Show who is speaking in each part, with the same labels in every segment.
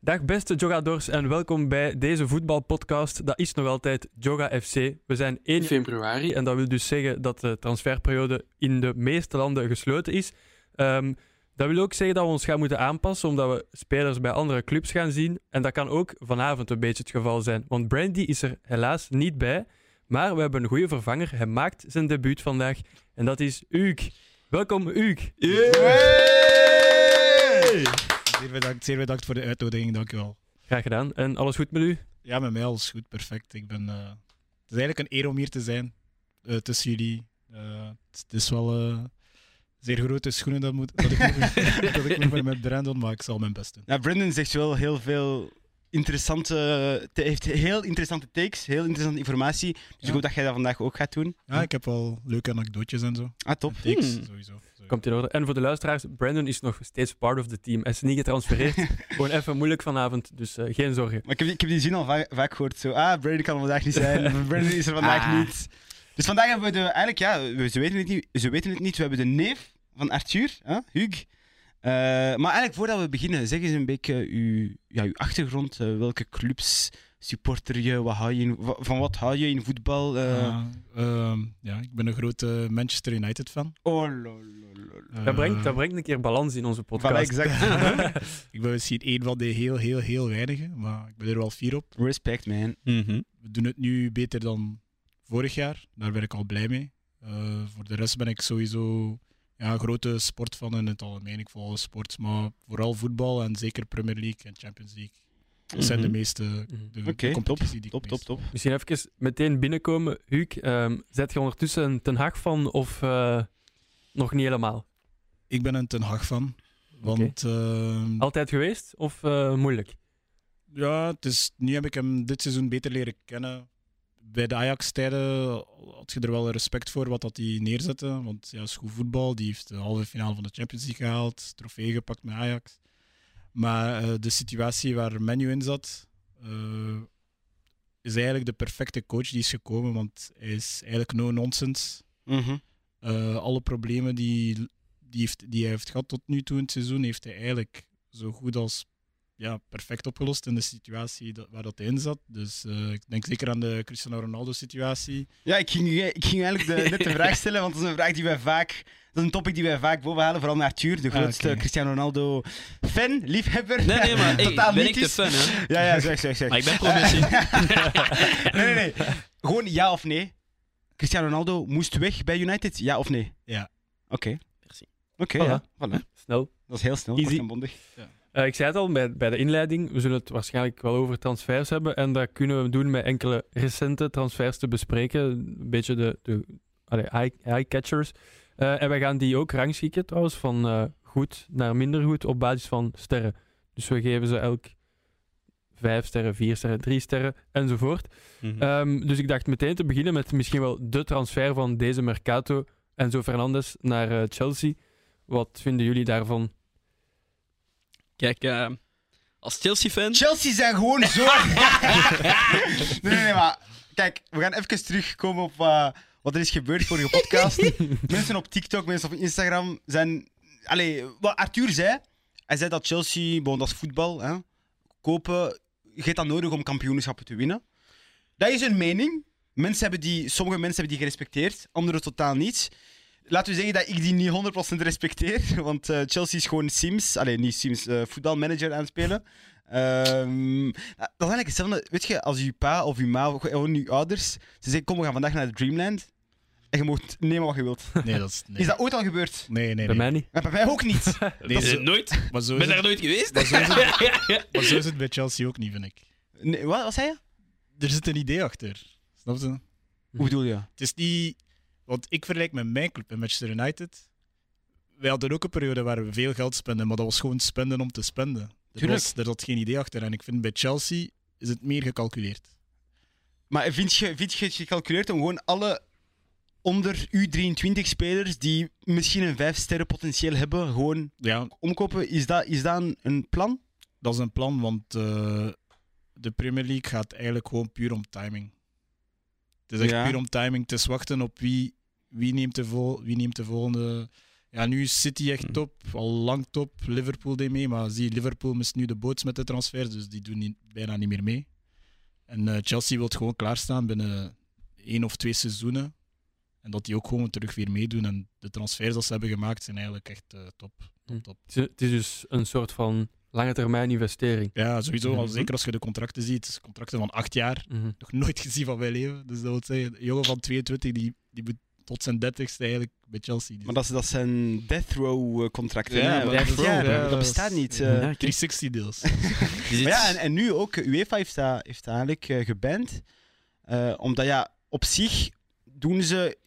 Speaker 1: Dag beste Jogadors en welkom bij deze voetbalpodcast. Dat is nog altijd Joga FC. We zijn 1
Speaker 2: In februari.
Speaker 1: en dat wil dus zeggen dat de transferperiode in de meeste landen gesloten is. Ehm, dat wil ook zeggen dat we ons gaan moeten aanpassen, omdat we spelers bij andere clubs gaan zien. En dat kan ook vanavond een beetje het geval zijn, want Brandy is er helaas niet bij. Maar we hebben een goede vervanger. Hij maakt zijn debuut vandaag en dat is Uuk. Welkom Uuk.
Speaker 3: Zeer bedankt, zeer bedankt voor de uitnodiging, dankjewel.
Speaker 1: Graag gedaan. En alles goed met u?
Speaker 3: Ja, met mij alles goed, perfect. Ik ben, eh, het is eigenlijk een eer om hier te zijn eh, tussen jullie. Eh, het, het is wel eh, zeer grote schoenen dat, moet, dat ik me- dat ik me voor mijn brand maak. Ik zal mijn best doen.
Speaker 4: Nou, Brendan zegt wel heel veel interessante... te- heeft heel interessante takes, heel interessante informatie. Dus
Speaker 3: Ja.
Speaker 4: ik hoop dat jij dat vandaag ook gaat doen.
Speaker 3: Ja, ik heb wel leuke anekdootjes en zo.
Speaker 4: Ah, top.
Speaker 3: En takes,
Speaker 4: Hmm.
Speaker 3: sowieso. sowieso.
Speaker 1: Komt in orde. En voor de luisteraars, Brandon is nog steeds part of the team. Hij is niet getransfereerd. Gewoon even moeilijk vanavond, dus eh, geen zorgen.
Speaker 4: Maar ik heb, die- ik heb die zin al va- vaak gehoord. Zo, ah, Brandon kan er vandaag niet zijn. Brandon is er vandaag
Speaker 2: Ah.
Speaker 4: niet. Dus vandaag hebben we de... Eigenlijk, ja, we- ze weten het niet. Ze weten het niet. We hebben de neef van Arthur, hè, Hugues. Eh, maar eigenlijk, voordat we beginnen, zeg eens een beetje uw, ja, uw achtergrond. Eh, welke clubs supporter je? Wat hou je in- wa- van wat hou je in voetbal? Eh,
Speaker 3: Ja, ehm, ja, ik ben een grote Manchester United fan.
Speaker 4: Oh, lol, lol, lol.
Speaker 1: Dat brengt,
Speaker 3: Eh,
Speaker 1: dat brengt een keer balans in onze
Speaker 4: Voilà,
Speaker 1: podcast.
Speaker 4: exact.
Speaker 3: Ik ben misschien één van de heel, heel, heel weinigen, maar ik ben er wel fier op.
Speaker 4: Respect, man.
Speaker 3: we doen het nu beter dan vorig jaar. Daar ben ik al blij mee. Eh, voor de rest ben ik sowieso ja, een grote sportfan in het algemeen. Ik volg alle sport, maar vooral voetbal en zeker Premier League en Champions League. Dat zijn de meeste
Speaker 1: Mhm.
Speaker 3: de, de
Speaker 4: Oké, top,
Speaker 3: competitie die ik
Speaker 4: top, top,
Speaker 3: meest-
Speaker 4: top.
Speaker 1: Misschien even meteen binnenkomen. Huuk, ehm, zet je ondertussen een Ten Haag van of eh, nog niet helemaal?
Speaker 3: Ik ben een Ten Hag fan. Want ehm,
Speaker 1: Altijd geweest of eh, moeilijk?
Speaker 3: Ja, het is, nu heb ik hem dit seizoen beter leren kennen. Bij de Ajax-tijden had je er wel respect voor wat dat hij neerzette. Want ja, is goed voetbal. Die heeft de halve finale van de Champions League gehaald. Trofee gepakt met Ajax. Maar eh, de situatie waar Menu in zat, eh, is eigenlijk de perfecte coach die is gekomen. Want hij is eigenlijk no nonsense.
Speaker 4: Mhm.
Speaker 3: Eh, alle problemen die, die, heeft, die hij heeft gehad tot nu toe in het seizoen, heeft hij eigenlijk zo goed als ja, perfect opgelost in de situatie dat, waar dat hij in zat. Dus eh, ik denk zeker aan de Cristiano Ronaldo-situatie.
Speaker 4: Ja, ik ging, eh, ik ging eigenlijk de, net de vraag stellen, want dat is een vraag die wij vaak... Dat is een topic die wij vaak bovenhalen, vooral naar Arthur, de
Speaker 3: Ah,
Speaker 4: grootste
Speaker 3: oké.
Speaker 4: Cristiano Ronaldo-fan, liefhebber.
Speaker 5: Nee, nee, maar hey,
Speaker 4: Totaal
Speaker 5: ben ik
Speaker 4: niet
Speaker 5: de
Speaker 4: is.
Speaker 5: fan, hè?
Speaker 4: Ja, ja, zeg, zeg, zeg.
Speaker 5: Maar ik ben provincie.
Speaker 4: Nee, nee, nee. Gewoon ja of nee. Cristiano Ronaldo moest weg bij United, ja of nee?
Speaker 3: Ja.
Speaker 4: Oké.
Speaker 5: Merci.
Speaker 4: Oké,
Speaker 1: Voilà.
Speaker 4: ja, voilà.
Speaker 1: Snel.
Speaker 4: Dat is heel snel,
Speaker 1: Easy.
Speaker 4: kort en bondig.
Speaker 1: Eh, ik zei het al bij, bij de inleiding. We zullen het waarschijnlijk wel over transfers hebben. En dat kunnen we doen met enkele recente transfers te bespreken. Een beetje de, de allee, eye- eye-catchers. Eh, en wij gaan die ook rangschikken trouwens, van eh, goed naar minder goed op basis van sterren. Dus we geven ze elk vijf sterren, vier sterren, drie sterren enzovoort. Ehm, dus ik dacht meteen te beginnen met misschien wel de transfer van deze Mercato. Enzo Fernandes naar eh, Chelsea. Wat vinden jullie daarvan?
Speaker 5: Kijk, eh, als Chelsea-fan...
Speaker 4: Chelsea zijn gewoon zo. nee, nee, nee, maar kijk, we gaan even terugkomen op eh, wat er is gebeurd voor je podcast. mensen op TikTok, mensen op Instagram zijn. Allee, wat Arthur zei, hij zei dat Chelsea, bon, dat is voetbal, hè, kopen, je hebt dat nodig om kampioenschappen te winnen. Dat is hun mening. Mensen hebben die, sommige mensen hebben die gerespecteerd, anderen totaal niet. Laten we zeggen dat ik die niet 100% respecteer, want eh, Chelsea is gewoon Sims, alleen niet Sims, eh, voetbalmanager aan het spelen. Ehm, dat is eigenlijk hetzelfde. Weet je, als je pa of je ma of gewoon je ouders, ze zeggen: Kom, we gaan vandaag naar Dreamland. En je moet nemen wat je wilt.
Speaker 3: Nee, dat is... Nee,
Speaker 4: Is dat ooit al gebeurd?
Speaker 3: nee, nee.
Speaker 1: Bij
Speaker 3: nee.
Speaker 1: mij niet.
Speaker 4: Maar bij mij ook niet.
Speaker 3: Nee,
Speaker 5: is
Speaker 3: zo-
Speaker 5: het nooit. Ik
Speaker 3: maar, zo is
Speaker 5: ben daar
Speaker 3: het,
Speaker 5: nooit geweest.
Speaker 3: maar, zo is het, maar zo is het bij Chelsea ook niet, vind ik.
Speaker 4: Nee, wat, wat zei je?
Speaker 3: Er zit een idee achter. Snap je?
Speaker 4: Hoe bedoel je?
Speaker 3: Het is niet... Want ik vergelijk met mijn club, met Manchester United. Wij hadden ook een periode waar we veel geld spenden, maar dat was gewoon spenden om te spenden. Er,
Speaker 4: Tuurlijk.
Speaker 3: was, er zat geen idee achter. En ik vind bij Chelsea is het meer gecalculeerd.
Speaker 4: Maar vind je, vind je het gecalculeerd om gewoon alle onder U23-spelers die misschien een 5-sterren potentieel hebben, gewoon
Speaker 3: Ja,
Speaker 4: omkopen? Is dat, is dat een, een plan?
Speaker 3: dat is een plan, want eh, de Premier League gaat eigenlijk gewoon puur om timing. Het is echt
Speaker 4: Ja.
Speaker 3: puur om timing. Het is wachten op wie, wie, neemt, de vol, wie neemt de volgende Ja, nu is City echt
Speaker 5: Hm.
Speaker 3: top, al lang top. Liverpool deed mee, maar zie, Liverpool mist nu de boots met de transfer, dus die doen niet, bijna niet meer mee. En eh, Chelsea wil gewoon klaarstaan binnen één of twee seizoenen. En dat die ook gewoon terug weer meedoen. En de transfers dat ze hebben gemaakt zijn eigenlijk echt eh, top.
Speaker 1: Hm.
Speaker 3: top, top.
Speaker 1: Het is, het is dus een soort van lange termijn investering.
Speaker 3: Ja, sowieso. Al
Speaker 5: Mhm.
Speaker 3: zeker als je de contracten ziet. dus Contracten van acht jaar.
Speaker 1: Mhm.
Speaker 3: Nog nooit gezien van mijn leven. Dus dat wil zeggen, een jongen van 22 die, die moet tot zijn 30ste eigenlijk bij Chelsea. Die
Speaker 4: Maar dat, is- dat zijn death row eh, contracten.
Speaker 5: Ja,
Speaker 4: hè,
Speaker 5: maar
Speaker 4: maar
Speaker 5: death
Speaker 4: dat-
Speaker 5: row,
Speaker 4: ja,
Speaker 5: ja,
Speaker 4: dat
Speaker 3: dat
Speaker 4: bestaat
Speaker 3: is-
Speaker 4: niet.
Speaker 3: ja.
Speaker 4: eh.
Speaker 5: Ja, ik-
Speaker 3: 360 deals.
Speaker 5: Die zit-
Speaker 4: Maar ja, en, en nu ook, eh, UEFA heeft dat, heeft dat eigenlijk eh, geband. Eh, omdat ja, op zich doen ze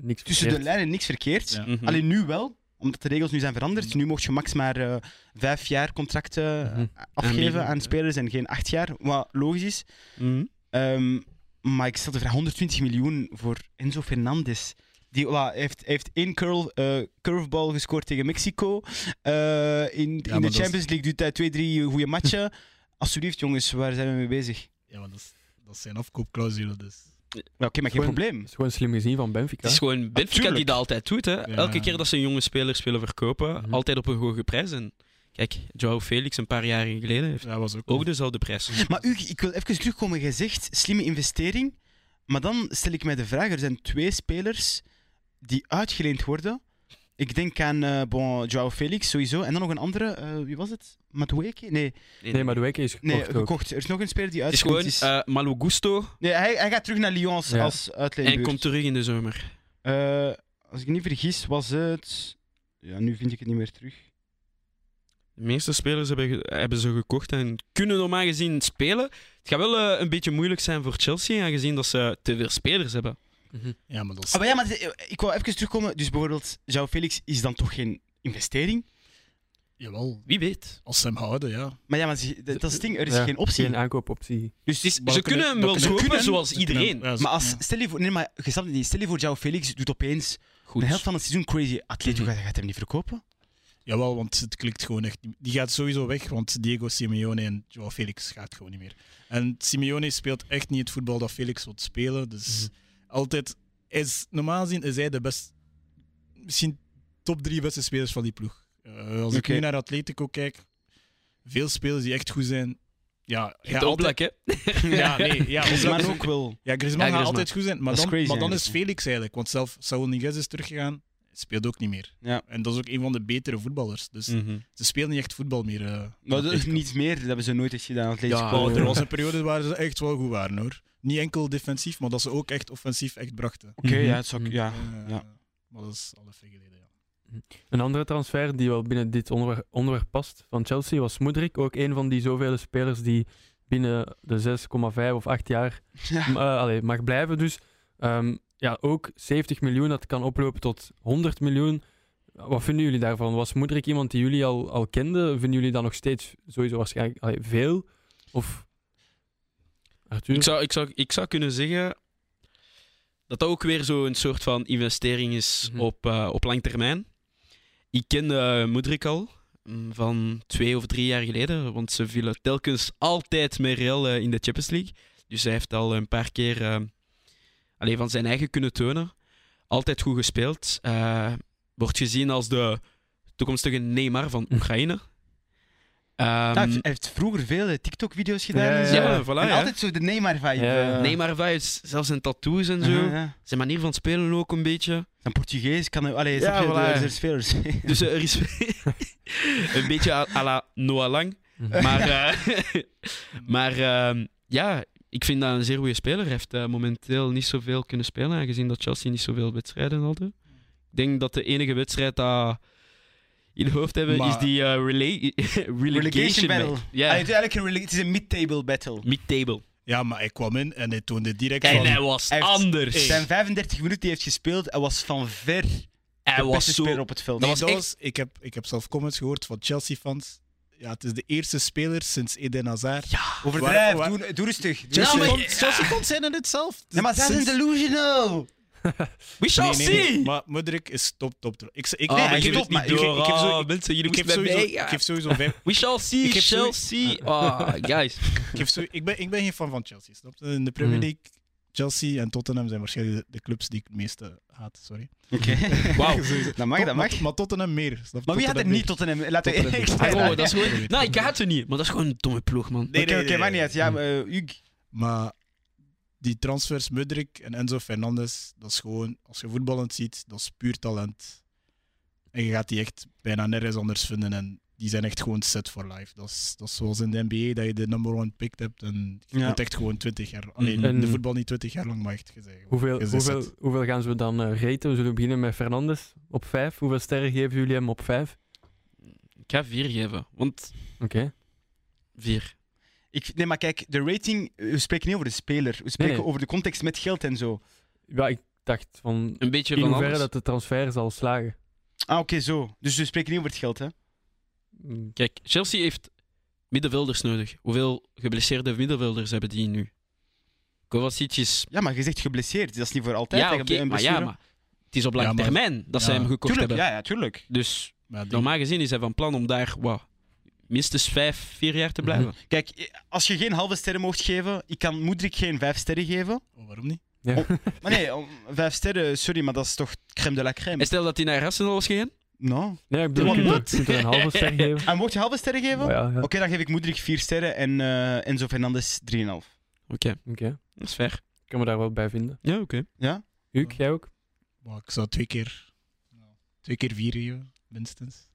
Speaker 1: Niks
Speaker 4: tussen de
Speaker 1: verkeerd.
Speaker 4: lijnen niks verkeerd. Hm.
Speaker 3: Ja.
Speaker 5: Mhm.
Speaker 4: Alleen nu wel, omdat de regels nu zijn veranderd. Nu mocht je max maar eh, vijf jaar contracten eh,
Speaker 1: Mhm.
Speaker 4: afgeven
Speaker 5: Aanbieden,
Speaker 4: aan
Speaker 5: ja.
Speaker 4: spelers en geen acht jaar, wat logisch is.
Speaker 5: Mhm.
Speaker 4: Ehm, maar ik stel de vraag: 120 miljoen voor Enzo Fernandez. Die wa- heeft, heeft één curl, eh, curveball gescoord tegen Mexico. Eh, in in de
Speaker 3: maar dat is-
Speaker 4: Champions League doet hij twee, drie goede matchen. Alsjeblieft, jongens, waar zijn we mee bezig?
Speaker 3: Ja, maar dat, is, dat zijn afkoopclausulen dus.
Speaker 4: Ja, Oké, maar geen
Speaker 1: Gewoon-
Speaker 4: probleem.
Speaker 1: Dat is gewoon slim gezien van Benfica.
Speaker 5: Het is gewoon Benfica
Speaker 4: tuurlijk.
Speaker 5: die dat altijd doet. Hè. Elke keer dat ze een jonge spelers willen verkopen,
Speaker 1: Mhm.
Speaker 5: altijd op een hoge prijs. En kijk, Joao Felix een paar jaar geleden heeft
Speaker 3: Ja, was ook.
Speaker 5: ook dezelfde prijs.
Speaker 4: Maar u, ik wil even terugkomen. Jij zegt slimme investering. Maar dan stel ik mij de vraag: er zijn twee spelers die uitgeleend worden. Ik denk aan eh bon, Joao Felix sowieso. En dan nog een andere. eh, wie was het? Matueke? Nee,
Speaker 1: Nee, maar de weken is gekocht
Speaker 4: nee
Speaker 1: ook.
Speaker 4: gekocht. Er is nog een speler die
Speaker 5: Het is
Speaker 4: uitgeleend
Speaker 5: gewoon
Speaker 4: is.
Speaker 5: eh Malo Gusto
Speaker 4: Nee, hij, hij gaat terug naar Lyon als,
Speaker 1: Ja.
Speaker 4: als
Speaker 5: en
Speaker 4: uitleenbuurt.
Speaker 5: komt terug in de zomer.
Speaker 4: Eh, als ik me niet vergis, was het... Ja, nu vind ik het niet meer terug.
Speaker 5: De meeste spelers hebben, ge- hebben ze gekocht en kunnen normaal gezien spelen. Het gaat wel eh, een beetje moeilijk zijn voor Chelsea, aangezien dat ze te veel spelers hebben.
Speaker 1: Mhm.
Speaker 3: Ja, maar dat is.
Speaker 4: Ah, maar ja, maar het- ik wou even terugkomen. Dus bijvoorbeeld, Joao Felix is dan toch geen investering?
Speaker 3: Jawel.
Speaker 5: Wie weet.
Speaker 3: Als ze hem houden, ja.
Speaker 4: Maar ja, maar ze- dat, dat is het ding. Er is
Speaker 1: Ja,
Speaker 4: geen optie.
Speaker 1: Geen aankoopoptie.
Speaker 4: Dus het is-
Speaker 5: Maar ze kunnen hem wel
Speaker 4: kunnen-
Speaker 5: kopen
Speaker 4: kunnen-
Speaker 5: zoals
Speaker 3: Ze kunnen
Speaker 5: iedereen.
Speaker 3: hem- ja, ze-
Speaker 4: Maar als,
Speaker 3: ja.
Speaker 4: stel je voor, nee, maar je snapt het niet. Stel je voor, Joao Felix doet opeens
Speaker 5: Goed.
Speaker 4: de helft van het seizoen crazy. Atletico gaat, gaat hem niet verkopen.
Speaker 3: Jawel, want het klikt gewoon echt niet. Die gaat sowieso weg, want Diego Simeone en Joao Felix gaat gewoon niet meer. En Simeone speelt echt niet het voetbal dat Felix wil spelen. Dus
Speaker 4: Mhm.
Speaker 3: altijd is, normaal gezien is hij de best, misschien top drie beste spelers van die ploeg. Eh, als
Speaker 4: Oké.
Speaker 3: ik nu naar Atletico kijk, veel spelers die echt goed zijn. Ja, ja,
Speaker 5: Het oplek, hè?
Speaker 3: ja, nee, ja,
Speaker 4: Dus
Speaker 3: Griezmann
Speaker 4: maar
Speaker 3: ook.
Speaker 4: ook wel.
Speaker 3: Ja, Griezmann
Speaker 5: Ja,
Speaker 3: gaat
Speaker 5: Griezmann.
Speaker 3: altijd goed zijn, maar
Speaker 4: Dat is
Speaker 3: dan,
Speaker 4: crazy
Speaker 3: maar dan is
Speaker 4: eigenlijk,
Speaker 3: Felix eigenlijk, want zelf Saul Niguez is teruggegaan, speelt ook niet meer.
Speaker 4: Ja.
Speaker 3: En dat is ook een van de betere voetballers. Dus ze spelen niet echt voetbal meer. eh,
Speaker 4: Maar dat is
Speaker 3: Atletico.
Speaker 4: niet meer. Dat hebben ze nooit eens gedaan. Atletico.
Speaker 5: Ja,
Speaker 3: Oh, er was een periode waar ze echt wel goed waren hoor. Niet enkel defensief, maar dat ze ook echt offensief echt brachten.
Speaker 4: Oké, ja, het zou...
Speaker 1: Mhm.
Speaker 4: Ja.
Speaker 3: Eh,
Speaker 4: ja.
Speaker 3: Maar dat is al even geleden, ja.
Speaker 1: Een andere transfer die wel binnen dit onderwerp, onderwerp past van Chelsea was Mudrik. Ook een van die zoveel spelers die binnen de 6,5 of 8 jaar
Speaker 4: Ja.
Speaker 1: m- eh, allee, mag blijven. Dus ehm, ja, ook 70 miljoen, dat kan oplopen tot 100 miljoen. Wat vinden jullie daarvan? Was Mudrik iemand die jullie al, al kenden? Vinden jullie dat nog steeds sowieso waarschijnlijk allee, veel? Of
Speaker 5: Ik,
Speaker 1: Arthur?
Speaker 5: zou, ik, zou, ik zou kunnen zeggen dat dat ook weer zo'n soort van investering is
Speaker 1: Mhm.
Speaker 5: op, eh, op lang termijn. Ik kende eh, Mudrik al mm, van twee of drie jaar geleden, want ze vielen telkens altijd met Real eh, in de Champions League. Dus hij heeft al een paar keer eh, alleen van zijn eigen kunnen tonen. Altijd goed gespeeld. Eh, wordt gezien als de toekomstige Neymar van Oekraïne. Ehm,
Speaker 4: Ja, hij heeft- hij heeft vroeger veel eh, TikTok-video's gedaan.
Speaker 1: Ja,
Speaker 4: en
Speaker 1: ja,
Speaker 4: zo.
Speaker 5: ja, voilà,
Speaker 4: En
Speaker 5: ja.
Speaker 4: altijd zo de Neymar-vibe.
Speaker 1: Ja.
Speaker 4: eh. Mhm.
Speaker 5: Neymar vibes, zelfs zijn tattoos en zo.
Speaker 4: Aha, ja.
Speaker 5: Zijn manier van spelen ook een beetje.
Speaker 4: Dan Portugees kan... hij- Allee,
Speaker 5: Ja,
Speaker 4: snap je,
Speaker 5: voilà,
Speaker 4: er-
Speaker 5: ja.
Speaker 4: er zijn spelers.
Speaker 5: Dus eh, er is een beetje à, à la Noah Lang.
Speaker 1: Mhm.
Speaker 5: Maar, eh, maar ehm, ja, ik vind dat een zeer goede speler. Hij heeft eh, momenteel niet zoveel kunnen spelen, aangezien dat Chelsea niet zoveel wedstrijden hadden. Ik denk dat de enige wedstrijd dat in het hoofd hebben is
Speaker 3: Maar-
Speaker 5: die eh, rela- relegation
Speaker 4: Relegation
Speaker 5: battle.
Speaker 4: battle.
Speaker 5: Ja,
Speaker 4: Allee, het, is eigenlijk een, rela- het is een mid-table battle.
Speaker 5: mid-table.
Speaker 3: Ja, maar hij kwam in en hij toonde direct
Speaker 5: En
Speaker 3: van...
Speaker 5: hij was
Speaker 4: Hij heeft-
Speaker 5: anders.
Speaker 4: Zijn 35 minuten die hij heeft gespeeld en was van ver
Speaker 5: Hij
Speaker 4: de beste
Speaker 5: was
Speaker 4: speler
Speaker 5: zo...
Speaker 4: op het veld.
Speaker 3: Nee,
Speaker 5: was
Speaker 3: dat
Speaker 5: echt-
Speaker 3: was- ik, heb, ik heb zelf comments gehoord van Chelsea-fans. Ja, het is de eerste speler sinds Eden Hazard.
Speaker 4: Overdrijf,
Speaker 3: Waar-
Speaker 4: doe, doe rustig. Doe
Speaker 5: Ja,
Speaker 3: Chelsea,
Speaker 4: rustig.
Speaker 5: Nou, maar-
Speaker 3: fans, Chelsea fans zijn in het zelf.
Speaker 4: Ja, maar zij zijn
Speaker 3: Sinds-
Speaker 4: delusional.
Speaker 5: We shall
Speaker 3: Nee, nee, nee,
Speaker 5: see!
Speaker 3: Maar Mudrik is top, top. top. Ik, ik,
Speaker 4: Oh,
Speaker 5: Ah,
Speaker 3: nee,
Speaker 5: maar
Speaker 3: ik,
Speaker 5: je
Speaker 3: geef-
Speaker 5: wilt niet
Speaker 3: ik geef-
Speaker 5: door.
Speaker 3: ik geef
Speaker 5: Ah,
Speaker 3: zo-
Speaker 5: mensen, jullie
Speaker 3: ik geef
Speaker 5: moeten met
Speaker 3: sowieso-
Speaker 5: mij.
Speaker 3: ik geef sowieso vijf-
Speaker 5: We shall see,
Speaker 3: Ik heb
Speaker 5: shall
Speaker 3: sowieso-
Speaker 5: see. Ah, guys.
Speaker 4: Hmm.
Speaker 3: Ik, geef zo- ik, ben, ik ben geen fan van Chelsea, snap je? In de Premier
Speaker 1: Mm.
Speaker 3: League, Chelsea en Tottenham zijn waarschijnlijk de, de clubs die ik het meeste haat. Sorry.
Speaker 4: Oké.
Speaker 5: Wauw.
Speaker 3: Sowieso.
Speaker 4: Dat mag,
Speaker 3: Tot-
Speaker 4: dat
Speaker 3: maar,
Speaker 4: mag.
Speaker 3: maar Tottenham meer. snap je?
Speaker 4: Maar wie had er
Speaker 3: Tottenham meer.
Speaker 4: niet tot een... Laten we
Speaker 3: Tottenham
Speaker 4: eerlijk
Speaker 3: meer.
Speaker 4: zijn.
Speaker 5: Oh, dat is
Speaker 3: Ja,
Speaker 5: gewoon...
Speaker 3: ja,
Speaker 5: Nou,
Speaker 3: ja.
Speaker 5: ik haat ze niet, maar dat is gewoon een domme ploeg, man.
Speaker 3: Nee, nee,
Speaker 4: Oké,
Speaker 3: nee,
Speaker 4: oké, maakt niet
Speaker 3: nee.
Speaker 4: uit.
Speaker 5: Hmm.
Speaker 4: Ja, maar, eh, Hugues.
Speaker 3: Maar die transfers Mudrik en Enzo Fernandes, dat is gewoon, als je voetballend ziet, dat is puur talent. En je gaat die echt bijna nergens anders vinden. En die zijn echt gewoon set for life. Dat is, dat is zoals in de NBA, dat je de number one picked hebt. En je
Speaker 4: Ja. Mhm.
Speaker 3: bent echt gewoon 20 jaar. Alleen
Speaker 1: En-
Speaker 3: de voetbal niet 20 jaar lang, maar echt gezegd.
Speaker 1: Hoeveel,
Speaker 3: Is
Speaker 1: hoeveel,
Speaker 3: het?
Speaker 1: hoeveel gaan ze dan eh, raten? We zullen beginnen met Fernandes op 5. Hoeveel sterren geven jullie hem op 5?
Speaker 5: Ik ga vier geven, want
Speaker 1: Oké.
Speaker 5: vier.
Speaker 4: Ik, nee, maar kijk, de rating, eh, we spreken niet over de speler. We spreken
Speaker 1: nee.
Speaker 4: over de context met geld en zo.
Speaker 1: Ja, ik dacht van
Speaker 5: Een beetje
Speaker 1: in
Speaker 5: van
Speaker 1: hoeverre
Speaker 5: alles.
Speaker 1: dat de transfer zal slagen.
Speaker 4: Ah, oké, zo. Dus we spreken niet over het geld, hè?
Speaker 1: Mm,
Speaker 5: Kijk, Chelsea heeft middenvelders nodig. Hoeveel geblesseerde middenvelders hebben die nu? Kovacic is...
Speaker 4: Ja, maar je zegt geblesseerd. Dat is niet voor altijd.
Speaker 5: Ja,
Speaker 4: hè.
Speaker 5: oké,
Speaker 4: Je hebt een
Speaker 5: maar ja,
Speaker 4: blessure.
Speaker 5: maar... Het is op
Speaker 3: Ja,
Speaker 5: lange
Speaker 3: maar-
Speaker 5: termijn dat ze
Speaker 3: ja.
Speaker 5: hem gekocht
Speaker 4: Tuurlijk,
Speaker 5: hebben.
Speaker 4: ja, ja, tuurlijk.
Speaker 5: Dus
Speaker 3: Maar die-
Speaker 5: normaal gezien is hij van plan om daar wow, minstens vijf, vier jaar te blijven.
Speaker 4: Kijk, eh, als je geen halve sterren mocht geven, ik kan Moedrik geen vijf sterren geven.
Speaker 3: oh, waarom niet?
Speaker 1: Ja.
Speaker 4: Oh. Maar nee, om- vijf sterren, sorry, maar dat is toch crème de la crème?
Speaker 5: En stel dat hij naar Arsenal was gegaan?
Speaker 4: No.
Speaker 1: Nee, ik bedoel, je kunt,
Speaker 4: Wat?
Speaker 1: er- je kunt er een halve ster geven.
Speaker 4: En mocht je halve sterren geven?
Speaker 1: Maar ja, ja.
Speaker 4: Oké,
Speaker 1: Oké.
Speaker 4: dan geef ik Moedrik vier sterren en eh Enzo Fernandes 3,5.
Speaker 5: Oké, dat is fair.
Speaker 1: Ik kan me daar wel bij vinden.
Speaker 5: Ja, oké.
Speaker 4: Ja?
Speaker 1: Huuk, jij ook?
Speaker 3: Maar ik zou twee keer, twee keer vier geven, minstens.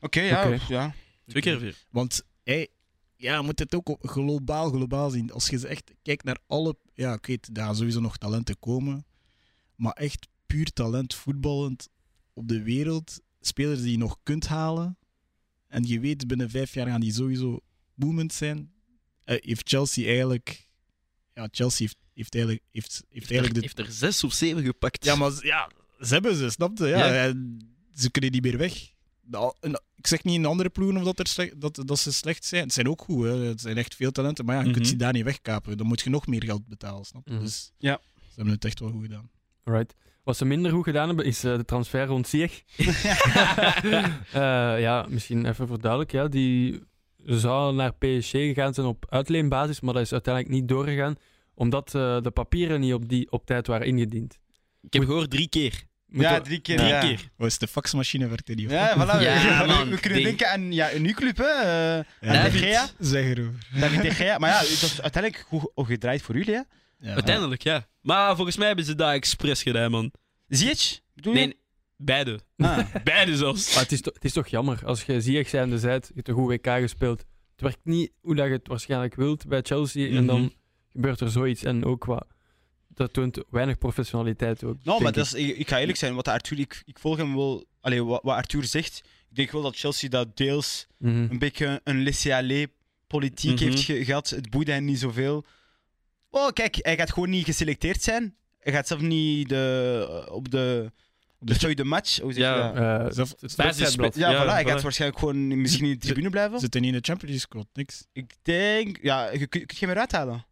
Speaker 4: Oké, ja,
Speaker 1: Oké.
Speaker 4: ja.
Speaker 5: Twee keer vier.
Speaker 3: Want hey, ja, je moet het ook globaal, globaal zien. Als je ze echt kijkt naar alle. Ja, ik weet, daar gaan sowieso nog talenten komen. Maar echt puur talent voetballend op de wereld. Spelers die je nog kunt halen. En je weet, binnen vijf jaar gaan die sowieso boemend zijn. Eh, heeft Chelsea eigenlijk. Ja, Chelsea heeft, heeft eigenlijk, heeft, heeft
Speaker 5: Heeft er,
Speaker 3: eigenlijk de
Speaker 5: heeft er zes of zeven gepakt.
Speaker 3: ja, maar z- ja, ze hebben ze, snap je? Ja,
Speaker 5: Ja.
Speaker 3: en Ze kunnen niet meer weg. Nou, en ik zeg niet in andere ploegen of dat, er slecht, dat, dat ze slecht zijn. Het zijn ook goed, hè. het zijn echt veel talenten. Maar ja, je kunt
Speaker 5: Mhm.
Speaker 3: ze daar niet wegkapen. Dan moet je nog meer geld betalen, snap je?
Speaker 1: Mhm.
Speaker 3: Dus
Speaker 4: Ja.
Speaker 3: ze hebben het echt wel goed gedaan.
Speaker 1: Right. Wat ze minder goed gedaan hebben, is eh, de transfer rond Sieg. Eh, ja, misschien even voor duidelijk. Ja, die zou naar PSG gegaan zijn op uitleenbasis, maar dat is uiteindelijk niet doorgegaan, omdat eh, de papieren niet op, die, op tijd waren ingediend.
Speaker 5: Ik heb gehoord drie keer.
Speaker 1: Moeten
Speaker 4: ja,
Speaker 1: we-
Speaker 4: drie keer.
Speaker 5: Drie
Speaker 4: ja.
Speaker 5: keer.
Speaker 3: Oh, is de faxmachine werkt er niet op?
Speaker 4: Ja, voilà.
Speaker 5: Ja,
Speaker 4: we-
Speaker 5: man,
Speaker 4: we kunnen
Speaker 5: ding.
Speaker 4: denken aan ja, een nieuw club, hè. eh,
Speaker 3: Ja,
Speaker 5: David.
Speaker 3: David,
Speaker 4: Gea?
Speaker 3: Zeg erover.
Speaker 4: David de Gea. Maar ja, dat is uiteindelijk goed oh, gedraaid voor jullie, hè.
Speaker 3: Ja.
Speaker 5: Uiteindelijk, ja. Maar volgens mij hebben ze dat expres gedaan, man.
Speaker 4: Ziyech, bedoel je?
Speaker 5: Nee, beide.
Speaker 4: Ah.
Speaker 5: Beide zelfs.
Speaker 1: Maar het is, to- het is toch jammer als je Ziyech zijnde zijt, je hebt een goed WK gespeeld. Het werkt niet hoe dat je het waarschijnlijk wilt bij Chelsea en
Speaker 5: Mhm.
Speaker 1: dan gebeurt er zoiets en ook wat. Dat toont weinig professionaliteit ook.
Speaker 4: Nou, maar
Speaker 1: denk
Speaker 4: dat
Speaker 1: ik.
Speaker 4: is, ik, ik ga eerlijk zijn, wat Arthur, ik, ik volg hem wel. Allee, wat, wat Arthur zegt, ik denk wel dat Chelsea dat deels
Speaker 1: Mhm.
Speaker 4: een beetje een laissez-aller politiek
Speaker 5: Mhm.
Speaker 4: heeft ge- gehad. Het boeide hen niet zoveel. Oh, kijk, hij gaat gewoon niet geselecteerd zijn. Hij gaat zelf niet de, eh, op de.
Speaker 3: de
Speaker 4: De sorry, de match. Hoe zeg je
Speaker 5: Ja.
Speaker 4: dat?
Speaker 1: Eh,
Speaker 3: Zelf-
Speaker 1: het
Speaker 5: basisspel.
Speaker 1: wedstrijdblad.
Speaker 4: Ja,
Speaker 5: Ja,
Speaker 4: voilà, hij gaat
Speaker 5: voilà.
Speaker 4: waarschijnlijk gewoon misschien niet in de tribune blijven.
Speaker 3: Zitten niet in de Champions League squad, niks.
Speaker 4: Ik denk, ja, je kun je hem eruit halen.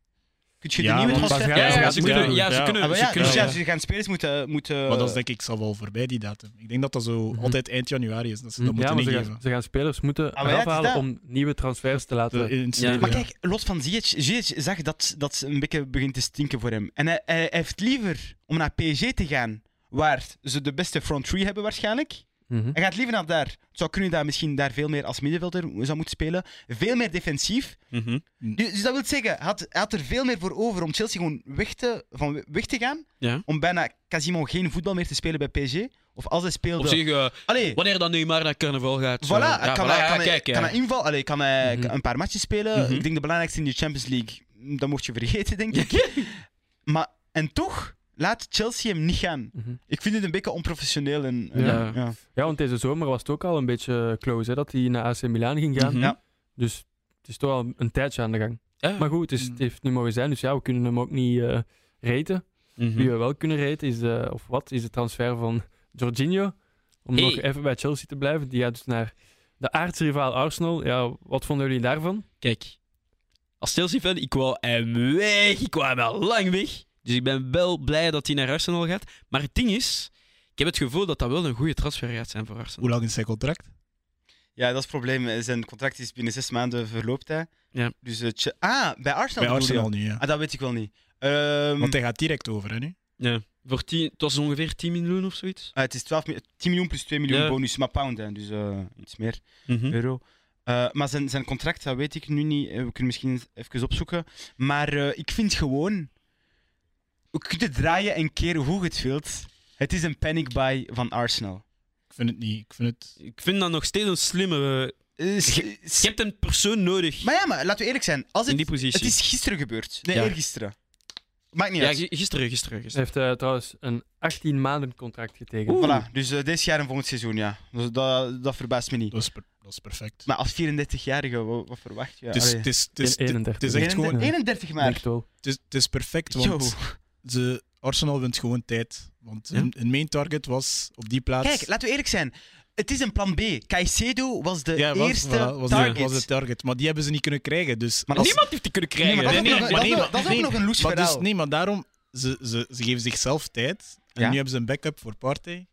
Speaker 4: Kun je
Speaker 3: Ja,
Speaker 4: de nieuwe
Speaker 3: want
Speaker 4: transfer
Speaker 1: Bas
Speaker 5: Ja, ja,
Speaker 1: Ja,
Speaker 5: ze
Speaker 1: moet
Speaker 5: kunnen.
Speaker 1: doen.
Speaker 5: Ja, ze
Speaker 3: Ja.
Speaker 5: kunnen.
Speaker 4: Ah, maar
Speaker 5: ze
Speaker 4: ja,
Speaker 5: kunnen.
Speaker 4: dus ja,
Speaker 3: ja.
Speaker 4: ze gaan spelers moeten. moeten
Speaker 3: Maar dat is denk ik zal wel voorbij, die datum. Ik denk dat dat zo
Speaker 1: Mhm.
Speaker 3: altijd eind januari is. Dat ze dat
Speaker 1: ja,
Speaker 3: moeten
Speaker 5: Mhm.
Speaker 1: maar ze
Speaker 3: ingeven.
Speaker 1: gaan, ze gaan spelers moeten
Speaker 4: Mhm. Ah, maar ja, het is
Speaker 1: afhalen
Speaker 4: dat.
Speaker 1: om nieuwe transfers te laten.
Speaker 3: Zo in het
Speaker 5: Ja.
Speaker 3: stadion,
Speaker 4: Maar
Speaker 3: ja.
Speaker 4: kijk, los van Ziyech, Ziyech zag dat, dat ze een beetje begint te stinken voor hem. En hij, hij, hij heeft liever om naar PSG te gaan, waar ze de beste front three hebben waarschijnlijk.
Speaker 1: Mhm.
Speaker 4: Hij gaat liever naar daar. Het zou kunnen daar misschien daar veel meer als middenvelder zou moeten spelen. Veel meer defensief.
Speaker 5: Mhm.
Speaker 4: Dus, dus dat wil zeggen, hij had, hij had er veel meer voor over om Chelsea gewoon weg te, van weg te gaan.
Speaker 5: Ja.
Speaker 4: Om bijna quasiment geen voetbal meer te spelen bij PSG. Of als hij speelde...
Speaker 5: Op zich, eh,
Speaker 4: Allee,
Speaker 5: wanneer dan Neymar naar carnaval gaat.
Speaker 4: Voilà,
Speaker 5: zo. Ja,
Speaker 4: kan,
Speaker 5: voilà,
Speaker 4: hij,
Speaker 5: ja,
Speaker 4: kan, hij-
Speaker 5: kijk,
Speaker 4: kan
Speaker 5: ja.
Speaker 4: hij inval, allee, kan hij
Speaker 1: Mhm.
Speaker 4: een paar matches spelen.
Speaker 5: Mhm.
Speaker 4: Ik denk de belangrijkste in de Champions League. Mm, Dat mocht je vergeten, denk ik. maar, en toch laat Chelsea hem niet gaan.
Speaker 1: Mhm.
Speaker 4: Ik vind het een beetje onprofessioneel. En, eh,
Speaker 1: Ja.
Speaker 4: ja.
Speaker 1: Ja, want deze zomer was het ook al een beetje close hè, dat hij naar AC Milan ging gaan.
Speaker 5: Mhm.
Speaker 4: Ja.
Speaker 1: Dus het is toch al een tijdje aan de gang.
Speaker 5: Ja.
Speaker 1: Maar goed, het,
Speaker 4: Mhm.
Speaker 1: is, het heeft niet mogen zijn, dus ja, we kunnen hem ook niet eh reten.
Speaker 5: Mhm.
Speaker 1: Wie we wel kunnen reten is, eh, of wat, is de transfer van Jorginho. Om
Speaker 5: Hey.
Speaker 1: nog even bij Chelsea te blijven. Die gaat dus naar de aardsrivaal Arsenal. Ja, wat vonden jullie daarvan?
Speaker 5: Kijk, als Chelsea-fan, ik wou hem weg. Ik wou hem al lang weg. Dus ik ben wel blij dat hij naar Arsenal gaat. Maar het ding is, ik heb het gevoel dat dat wel een goede transfer gaat zijn voor Arsenal.
Speaker 3: Hoe lang is zijn contract?
Speaker 4: ja, dat is het probleem. Zijn contract is binnen zes maanden verloopt. Hè.
Speaker 5: Ja.
Speaker 4: Dus, eh, Ch- ah, bij Arsenal.
Speaker 3: Bij
Speaker 4: bedoel je?
Speaker 3: Arsenal nu, ja.
Speaker 4: Ah, dat weet ik wel niet. Eh, Ehm,
Speaker 3: Want hij gaat direct over, hè, nu?
Speaker 5: Ja. Voor 10 het was ongeveer 10 miljoen of zoiets.
Speaker 4: eh, het is 12 mi- 10 miljoen plus 2 miljoen
Speaker 5: Ja.
Speaker 4: bonus, maar pound, hè, dus eh, iets meer euro. Eh, maar zijn, zijn contract, dat weet ik nu niet. Eh, We kunnen misschien eens even opzoeken. Maar eh, ik vind gewoon... We kunnen draaien en keren hoe je het wilt. Het is een panic buy van Arsenal.
Speaker 3: Ik vind het niet. Ik vind het...
Speaker 5: Ik vind dat nog steeds een slimme. eh,
Speaker 4: Eh, s- s-
Speaker 5: Je hebt een persoon nodig
Speaker 4: Maar ja, maar laten we eerlijk zijn. Als
Speaker 5: in
Speaker 4: het,
Speaker 5: die positie.
Speaker 4: het is gisteren gebeurd. Nee,
Speaker 5: Ja.
Speaker 4: eergisteren. Maakt niet
Speaker 5: ja,
Speaker 4: uit.
Speaker 5: gi- gisteren, gisteren.
Speaker 1: Ze
Speaker 5: gisteren.
Speaker 1: heeft eh, trouwens een 18 maanden contract getekend.
Speaker 4: Voilà, dus eh deze jaar en volgend seizoen, ja. Dus dat, dat verbaast me niet.
Speaker 3: Dat is, per- dat is perfect.
Speaker 4: Maar als 34-jarige, wa- wat, verwacht je?
Speaker 3: het, is,
Speaker 4: Allee.
Speaker 3: het, is, het, is,
Speaker 1: In 31.
Speaker 3: het is echt gewoon...
Speaker 4: 31
Speaker 1: Ik Denk
Speaker 4: maar.
Speaker 1: het wel.
Speaker 3: Het is, het is perfect,
Speaker 4: Yo.
Speaker 3: want ze, Arsenal wint gewoon tijd. Want
Speaker 5: Ja.
Speaker 3: hun, hun main target was op die plaats...
Speaker 4: Kijk, laten we eerlijk zijn. Het is een plan B. Caicedo was de
Speaker 3: ja, was,
Speaker 4: eerste
Speaker 3: voilà, was,
Speaker 4: target.
Speaker 3: De, was de target. Maar die hebben ze niet kunnen krijgen, dus...
Speaker 4: Maar als-
Speaker 5: Niemand heeft die kunnen
Speaker 4: Nee,
Speaker 5: krijgen.
Speaker 4: maar dat is ook
Speaker 3: Nee,
Speaker 4: nog-
Speaker 3: nee,
Speaker 4: dat is
Speaker 3: maar
Speaker 4: nog- dat is ook
Speaker 3: nee,
Speaker 4: nog een loes
Speaker 3: Maar
Speaker 4: verhaal.
Speaker 3: dus, nee, maar daarom, ze, ze, ze geven zichzelf tijd. En
Speaker 4: Ja.
Speaker 3: nu hebben ze een backup voor Partey.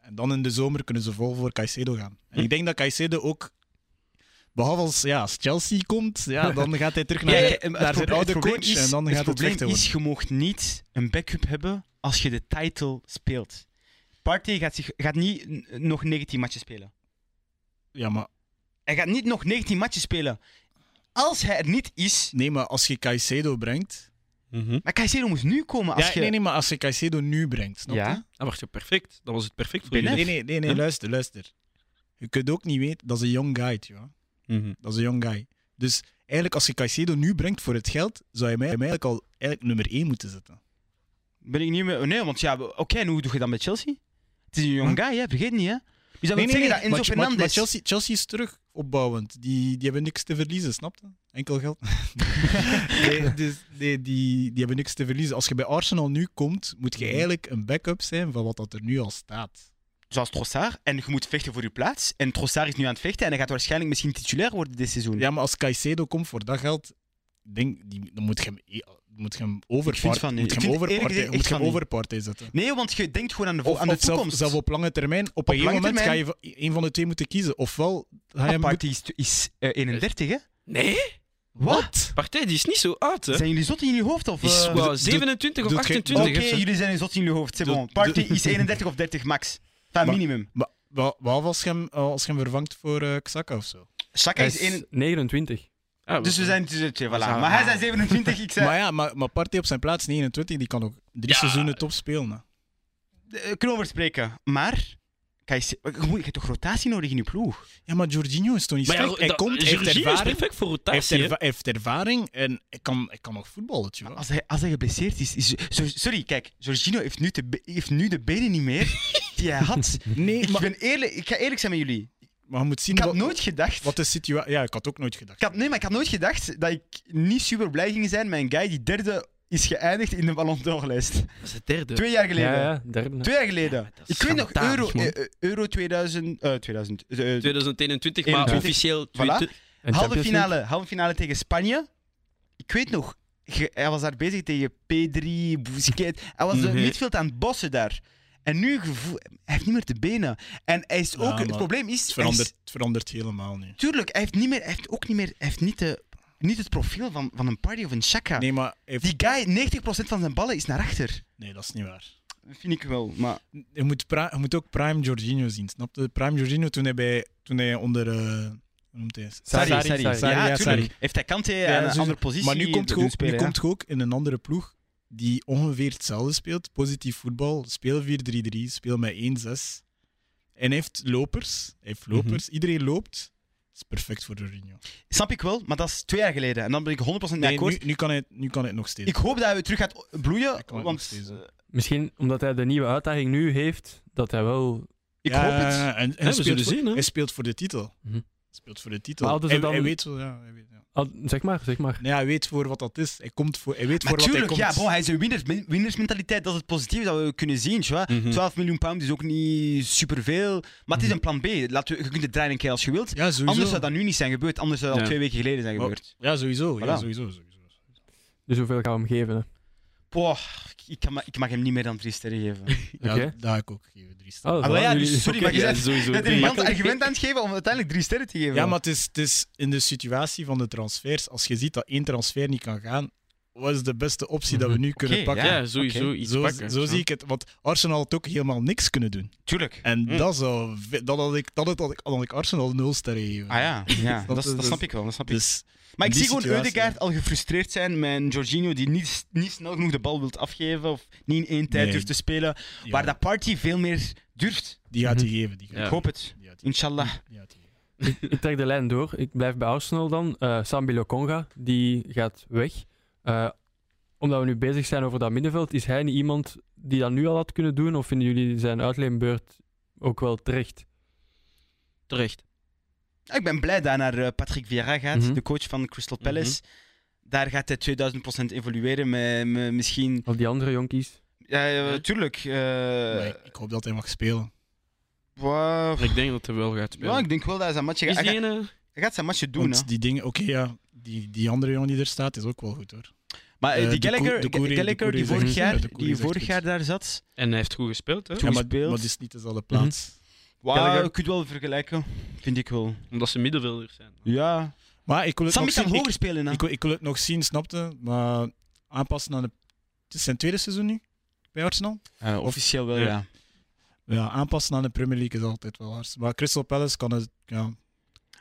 Speaker 3: En dan in de zomer kunnen ze vol voor Caicedo gaan. En ik denk dat Caicedo ook, behalve als, ja, als Chelsea komt, ja, dan gaat hij terug naar,
Speaker 4: Ja, ja,
Speaker 3: naar
Speaker 4: het
Speaker 3: zijn
Speaker 4: probleem-
Speaker 3: oude
Speaker 4: het
Speaker 3: coach.
Speaker 4: probleem is-
Speaker 3: en dan gaat het
Speaker 4: probleem
Speaker 3: slechter worden.
Speaker 4: is, je mag niet een backup hebben als je de title speelt. Partey gaat, zich, gaat niet n- nog 19 matchen spelen.
Speaker 3: Ja, maar,
Speaker 4: Hij gaat niet nog 19 matchen spelen. Als hij er niet is...
Speaker 3: nee, maar als je Caicedo brengt...
Speaker 5: Mhm.
Speaker 4: Maar Caicedo moest nu komen als
Speaker 3: Ja,
Speaker 4: je...
Speaker 3: nee, nee, maar als je Caicedo nu brengt, snap
Speaker 4: Ja.
Speaker 3: je?
Speaker 5: Dat was je perfect. Dat was het perfect voor
Speaker 4: Ben
Speaker 5: jullie.
Speaker 3: Nee, nee, nee, nee
Speaker 5: Huh?
Speaker 3: luister, luister. Je kunt ook niet weten, dat is een young guy, ja.
Speaker 5: Mhm.
Speaker 3: Dat is een young guy. Dus eigenlijk, als je Caicedo nu brengt voor het geld, zou je mij hem eigenlijk al eigenlijk nummer 1 moeten zetten.
Speaker 4: Ben ik niet meer... Nee, want ja, oké, en hoe doe je dat met Chelsea? Het
Speaker 3: Hm?
Speaker 4: is een jong guy, hè? vergeet niet, hè? Dus dat wil zeggen dat Enzo
Speaker 3: maar, maar-
Speaker 4: Fernandes...
Speaker 3: maar Chelsea, Chelsea is terug opbouwend. Die, die hebben niks te verliezen, snap je? Enkel geld. nee, dus, nee die, die hebben niks te verliezen. Als je bij Arsenal nu komt, moet je eigenlijk een backup zijn van wat dat er nu al staat.
Speaker 4: Zoals Trossard. En je moet vechten voor je plaats. En Trossard is nu aan het vechten en hij gaat waarschijnlijk misschien titulair worden dit seizoen.
Speaker 3: Ja, maar als Caicedo komt voor dat geld, denk, die, dan moet je hem, e- moet je hem
Speaker 4: Ik vind
Speaker 3: overpartij
Speaker 4: van niet.
Speaker 3: moet je
Speaker 4: Ik
Speaker 3: hem
Speaker 4: vind eerlijk
Speaker 3: overpartij-
Speaker 4: gezegd
Speaker 3: moet je
Speaker 4: echt
Speaker 3: hem
Speaker 4: van niet.
Speaker 3: overpartij zetten.
Speaker 4: Nee, want je denkt gewoon aan de, vo-
Speaker 3: Of,
Speaker 4: aan de
Speaker 3: of zelf-
Speaker 4: toekomst.
Speaker 3: zelf op lange termijn, op, een
Speaker 4: lange
Speaker 3: gegeven moment
Speaker 4: termijn.
Speaker 3: ga je v- e- een van de twee moeten kiezen. Ofwel ga je
Speaker 4: Maar
Speaker 3: hem
Speaker 4: Partey is, is eh, 31, hè?
Speaker 5: Nee,
Speaker 4: Wat?
Speaker 5: partij die is niet zo oud, hè?
Speaker 4: Zijn jullie zot in jullie hoofd? Of,
Speaker 5: Die is
Speaker 4: eh,
Speaker 5: wel
Speaker 3: doet-
Speaker 5: 27 of
Speaker 3: doet geen-
Speaker 5: 28.
Speaker 4: Oké,
Speaker 5: of zo.
Speaker 4: jullie zijn zot in jullie hoofd. C'est
Speaker 3: Doe-
Speaker 4: bon. Partey is 31 of 30 max. Enfin,
Speaker 3: Maar-
Speaker 4: minimum.
Speaker 3: Be- be- Behalve als je hem, als je hem vervangt voor eh Xhaka of zo.
Speaker 4: Saka
Speaker 1: Hij
Speaker 4: is
Speaker 1: is
Speaker 4: 1...
Speaker 1: 29.
Speaker 5: Ah,
Speaker 4: Dus we zijn tussen de twee, voilà.
Speaker 5: zijn-
Speaker 4: Maar hij zijn 27, ik zei...
Speaker 3: Maar ja, maar, maar Partey op zijn plaats 29, die kan ook drie
Speaker 5: Ja.
Speaker 3: seizoenen top spelen. hè.
Speaker 4: Eh, Kunnen we over spreken. Maar... Kijk, je moet- je hebt toch rotatie nodig in je ploeg?
Speaker 3: Ja, maar Jorginho is toch niet
Speaker 5: Maar ja,
Speaker 3: slecht? hij
Speaker 5: dat-
Speaker 3: komt, hij heeft
Speaker 5: Jorginho is
Speaker 3: ervaring,
Speaker 5: perfect voor
Speaker 3: hij heeft,
Speaker 5: rotatie. hè.
Speaker 3: erva- hij heeft ervaring en hij kan, hij kan nog voetballen. tjoh.
Speaker 4: Als hij, als hij geblesseerd is... is zo- sorry, kijk. Jorginho heeft nu, de, be- heeft nu de benen niet meer die hij had.
Speaker 3: Nee,
Speaker 4: Ik,
Speaker 3: maar,
Speaker 4: ben eerlijk, ik ga eerlijk zijn met jullie.
Speaker 3: maar je moet zien
Speaker 4: Ik had
Speaker 3: wat,
Speaker 4: nooit gedacht...
Speaker 3: wat de situatie... Ja, ik had ook nooit gedacht.
Speaker 4: Ik had, nee, maar ik had nooit gedacht dat ik niet super blij ging zijn met een guy die derde is geëindigd in de Ballon d'Or-lijst.
Speaker 5: Dat is de derde.
Speaker 4: Twee jaar geleden.
Speaker 1: Ja, ja, derde.
Speaker 4: Twee jaar geleden.
Speaker 5: Ja, dat is
Speaker 4: ik weet nog
Speaker 5: schandalig,
Speaker 4: Euro,
Speaker 5: man.
Speaker 4: eh, eh, euro 2000. eh 2000 eh, eh,
Speaker 5: 2021, maar
Speaker 4: 21.
Speaker 5: officieel.
Speaker 4: Voilà.
Speaker 5: 20
Speaker 1: En
Speaker 4: halve,
Speaker 1: Champions League.
Speaker 4: finale, halve finale tegen Spanje. Ik weet nog, ge- hij was daar bezig tegen P3, Busquets. Hij was het
Speaker 5: Mhm.
Speaker 4: midveld aan het bossen daar. En nu, gevoel- hij heeft niet meer de benen. En hij is
Speaker 3: Ja,
Speaker 4: ook, het
Speaker 3: maar
Speaker 4: probleem is,
Speaker 3: Het
Speaker 4: hij is-
Speaker 3: verandert, het verandert helemaal nu.
Speaker 4: tuurlijk, hij heeft, niet meer, hij heeft ook niet meer, hij heeft niet, de, niet het profiel van, van een party of een Chaka.
Speaker 3: Nee, maar hij heeft-
Speaker 4: Die guy, 90% van zijn ballen is naar achter.
Speaker 3: nee, dat is niet waar.
Speaker 4: Dat vind ik wel, maar...
Speaker 3: je moet, pri- je moet ook Prime Jorginho zien, snap je? Prime Jorginho toen hij, bij, toen hij onder... eh, hoe noemt hij?
Speaker 1: Sarri,
Speaker 4: Sarri,
Speaker 1: Sarri,
Speaker 4: Sarri.
Speaker 1: Sarri.
Speaker 4: Ja,
Speaker 3: Sarri, ja,
Speaker 4: tuurlijk.
Speaker 3: Sarri.
Speaker 4: Heeft hij Kante aan
Speaker 3: Ja,
Speaker 4: een
Speaker 3: zo-
Speaker 4: andere positie
Speaker 3: Maar nu komt je
Speaker 4: doen
Speaker 3: ook,
Speaker 4: spelen,
Speaker 3: nu
Speaker 4: ja.
Speaker 3: komt je ook in een andere ploeg die ongeveer hetzelfde speelt. Positief voetbal. Speel 4-3-3, speel met 1-6. En hij heeft lopers. Hij heeft lopers. Iedereen loopt. Dat is perfect voor Jorginho.
Speaker 4: Snap ik wel, maar dat is twee jaar geleden. En dan ben ik 100% mee
Speaker 3: Nee,
Speaker 4: akkoord.
Speaker 3: nu, nu, kan hij, het- nu kan hij het nog steeds.
Speaker 4: Ik hoop dat hij terug gaat bloeien,
Speaker 3: kan het
Speaker 4: want
Speaker 3: nog steeds, hè.
Speaker 4: eh,
Speaker 1: Misschien omdat hij de nieuwe uitdaging nu heeft, dat hij wel...
Speaker 4: ik
Speaker 3: Ja,
Speaker 4: hoop het.
Speaker 3: En, en hij,
Speaker 5: we
Speaker 3: speelt
Speaker 5: zullen
Speaker 3: voor,
Speaker 5: zien, hè.
Speaker 3: hij speelt voor de titel.
Speaker 1: Mhm.
Speaker 3: Hij speelt voor de titel.
Speaker 1: Maar hadden ze
Speaker 3: hij,
Speaker 1: dan-
Speaker 3: hij weet wel, ja. Hij weet, ja.
Speaker 1: Ah, zeg maar, zeg maar.
Speaker 3: Nee, hij weet voor wat dat is. Hij, komt voor, hij weet
Speaker 4: Maar
Speaker 3: voor
Speaker 4: tuurlijk,
Speaker 3: wat hij
Speaker 4: ja,
Speaker 3: komt.
Speaker 4: bon, hij is een winners, winnersmentaliteit. Dat is het positieve dat we kunnen zien. tja.
Speaker 3: Mm.
Speaker 5: Mhm.
Speaker 4: 12 miljoen pound is ook niet superveel. Maar het is een plan B. Laten we, je kunt het draaien een keer als je wilt.
Speaker 3: ja, sowieso.
Speaker 4: Anders zou dat nu niet zijn gebeurd. Anders zou dat al
Speaker 5: Ja.
Speaker 4: twee weken geleden zijn
Speaker 3: Maar-
Speaker 4: gebeurd.
Speaker 3: Ja, sowieso. Ja,
Speaker 4: Voilà.
Speaker 3: sowieso, sowieso.
Speaker 1: Dus hoeveel gaan we hem geven? Hè?
Speaker 4: Boah, ik, kan, ma- ik mag hem niet meer dan drie sterren geven.
Speaker 3: Ja,
Speaker 1: Oké.
Speaker 3: dat heb ik ook gegeven, drie sterren.
Speaker 1: Oh,
Speaker 4: Ah, wel ja,
Speaker 1: voilà,
Speaker 4: dus
Speaker 1: jullie-
Speaker 4: sorry, maar je
Speaker 5: Mhm. Ja,
Speaker 4: bent
Speaker 5: sowieso.
Speaker 4: een elegant
Speaker 5: Makkelijk.
Speaker 4: argument aan het geven om uiteindelijk drie sterren te geven.
Speaker 3: Ja, maar het is, het is in de situatie van de transfers. Als je ziet dat één transfer niet kan gaan, wat is de beste optie dat we nu kunnen
Speaker 4: Oké,
Speaker 3: pakken?
Speaker 4: ja,
Speaker 5: Ja, sowieso iets
Speaker 3: Mhm. Zo,
Speaker 5: pakken.
Speaker 3: zo
Speaker 5: Ja.
Speaker 3: zie ik het. Want Arsenal had ook helemaal niks kunnen doen.
Speaker 4: Tuurlijk.
Speaker 3: En
Speaker 4: Mm.
Speaker 3: dat zou... ve- Dat had ik, dat had, dat had ik, dat had ik Arsenal nul sterren gegeven.
Speaker 4: Ah ja, ja. dat, dat
Speaker 3: Dus-
Speaker 4: snap ik wel. Dat snap ik.
Speaker 3: Dus
Speaker 4: Maar ik
Speaker 3: die
Speaker 4: zie gewoon
Speaker 3: situatie-
Speaker 4: Eudegaard al gefrustreerd zijn met een Jorginho die niet, niet snel genoeg de bal wilt afgeven of niet in één tijd
Speaker 3: Nee.
Speaker 4: durft te spelen.
Speaker 3: ja,
Speaker 4: Waar dat party veel meer durft.
Speaker 3: die gaat hij
Speaker 1: Mhm.
Speaker 3: geven. Die gaat,
Speaker 5: Ja.
Speaker 4: Ik hoop het.
Speaker 3: die gaat die-
Speaker 4: Inshallah.
Speaker 3: die gaat die geven.
Speaker 1: Ik trek de lijn door. Ik blijf bij Arsenal dan. Eh Sambi Lokonga, die gaat weg. Eh, omdat we nu bezig zijn over dat middenveld, is hij niet iemand die dat nu al had kunnen doen? Of vinden jullie zijn uitleenbeurt ook wel terecht?
Speaker 5: Terecht.
Speaker 4: Ja, Ik ben blij dat hij naar eh, Patrick Vieira gaat,
Speaker 1: Mhm.
Speaker 4: de coach van Crystal Palace. Daar gaat hij 2000% evolueren met, met misschien...
Speaker 1: Of die andere jonkies?
Speaker 4: Ja, ja,
Speaker 5: Huh?
Speaker 4: tuurlijk. eh,
Speaker 3: Maar ik- ik hoop dat hij mag spelen.
Speaker 4: wow.
Speaker 5: Ik denk dat hij wel gaat spelen.
Speaker 4: Ja, ik denk wel dat hij zijn matje
Speaker 5: Is
Speaker 4: gaat... Hij
Speaker 5: die
Speaker 4: gaat-
Speaker 5: ene-
Speaker 4: hij gaat zijn matje doen, hè.
Speaker 3: Want die dingen... Oké, ja. Die, die andere jongen die er staat is ook wel goed, hoor.
Speaker 4: Maar eh,
Speaker 3: Eh,
Speaker 4: die
Speaker 3: de
Speaker 4: Gallagher,
Speaker 3: Koer- de Koer- de
Speaker 4: Gallagher
Speaker 3: Koer
Speaker 4: die
Speaker 3: is
Speaker 4: vorig
Speaker 3: echt-
Speaker 4: jaar,
Speaker 3: ja, de Koer
Speaker 4: die
Speaker 3: is echt
Speaker 4: vorig
Speaker 3: goed.
Speaker 4: jaar daar zat,
Speaker 5: En hij heeft goed gespeeld, hè?
Speaker 4: Toen
Speaker 3: maar,
Speaker 4: speelt-
Speaker 3: maar het is niet dezelfde plaats.
Speaker 4: Wauw,
Speaker 1: Gallagher.
Speaker 4: je kunt wel vergelijken. Vind ik wel.
Speaker 5: Omdat ze middenvelders zijn.
Speaker 4: Ja.
Speaker 3: Maar ik wil het
Speaker 4: Sammy
Speaker 3: nog zien.
Speaker 4: kan
Speaker 3: Ik-
Speaker 4: hoger spelen, hè?
Speaker 3: Ik, wil- ik wil het nog zien, snapte? Maar aanpassen aan de. Het is zijn tweede seizoen nu bij Arsenal.
Speaker 4: Eh, officieel wel, ja.
Speaker 5: Ja.
Speaker 3: Ja, aanpassen aan de Premier League is altijd wel hard. Maar Crystal Palace kan het. Ja.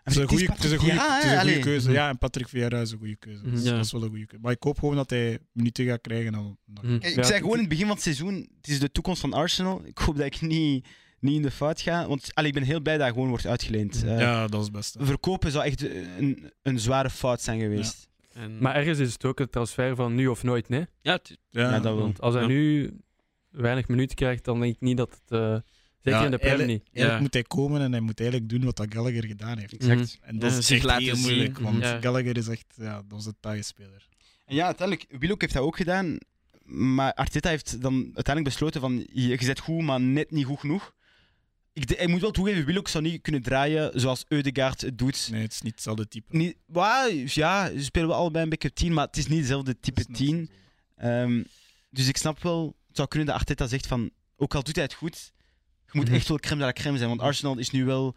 Speaker 3: Het is een
Speaker 4: het is
Speaker 3: goede, het is een goede,
Speaker 4: Patrick Vieira,
Speaker 3: het is
Speaker 4: hè,
Speaker 3: een goede
Speaker 4: allee.
Speaker 3: keuze. Ja, en Patrick Vieira is een goede keuze. Dus
Speaker 1: Mhm.
Speaker 5: Ja.
Speaker 3: Dat is wel een goede keuze. Maar ik hoop gewoon dat hij minuten gaat krijgen. Dan, dan-
Speaker 1: Mhm.
Speaker 4: Ik
Speaker 1: Ja,
Speaker 4: zei gewoon in het begin van het seizoen, het is de toekomst van Arsenal. Ik hoop dat ik niet, niet in de fout ga. Want allee, ik ben heel blij dat hij gewoon wordt uitgeleend. Eh,
Speaker 3: Ja, dat is het beste.
Speaker 4: Verkopen zou echt een, een zware fout zijn geweest.
Speaker 5: En...
Speaker 1: Maar ergens is het ook een transfer van nu of nooit, nee?
Speaker 5: Ja, het-
Speaker 3: Ja,
Speaker 4: ja, dat wel.
Speaker 1: Want als hij
Speaker 5: Ja.
Speaker 1: nu weinig minuten krijgt, dan denk ik niet dat het... eh, zeker
Speaker 3: Ja,
Speaker 1: in de Premier
Speaker 3: eigenlijk-
Speaker 1: niet.
Speaker 3: Eigenlijk
Speaker 5: Ja.
Speaker 3: moet hij komen en hij moet eigenlijk doen wat dat Gallagher gedaan heeft.
Speaker 1: Mhm.
Speaker 4: Exact.
Speaker 3: En dat
Speaker 5: Ja,
Speaker 3: is
Speaker 5: zich
Speaker 3: echt
Speaker 5: laten
Speaker 3: heel
Speaker 5: zien.
Speaker 3: moeilijk, want
Speaker 5: Ja.
Speaker 3: Gallagher is echt ja, dat is een taaie-speler.
Speaker 4: En ja, uiteindelijk, Willock heeft dat ook gedaan. Maar Arteta heeft dan uiteindelijk besloten van, je je zet goed, maar net niet goed genoeg. Ik, de- ik moet wel toegeven, Willock zou niet kunnen draaien zoals Eudegaard het doet.
Speaker 3: Nee, het is niet hetzelfde type.
Speaker 4: Niet, wa- ja, ze spelen wel allebei een beetje 10, maar het is niet hetzelfde type
Speaker 3: Dat is nog
Speaker 4: 10.
Speaker 3: zo.
Speaker 4: Ehm, dus ik snap wel, het zou kunnen dat Arteta zegt van, ook al doet hij het goed, je moet
Speaker 1: Mhm.
Speaker 4: echt wel crème de la crème zijn, want Arsenal is nu wel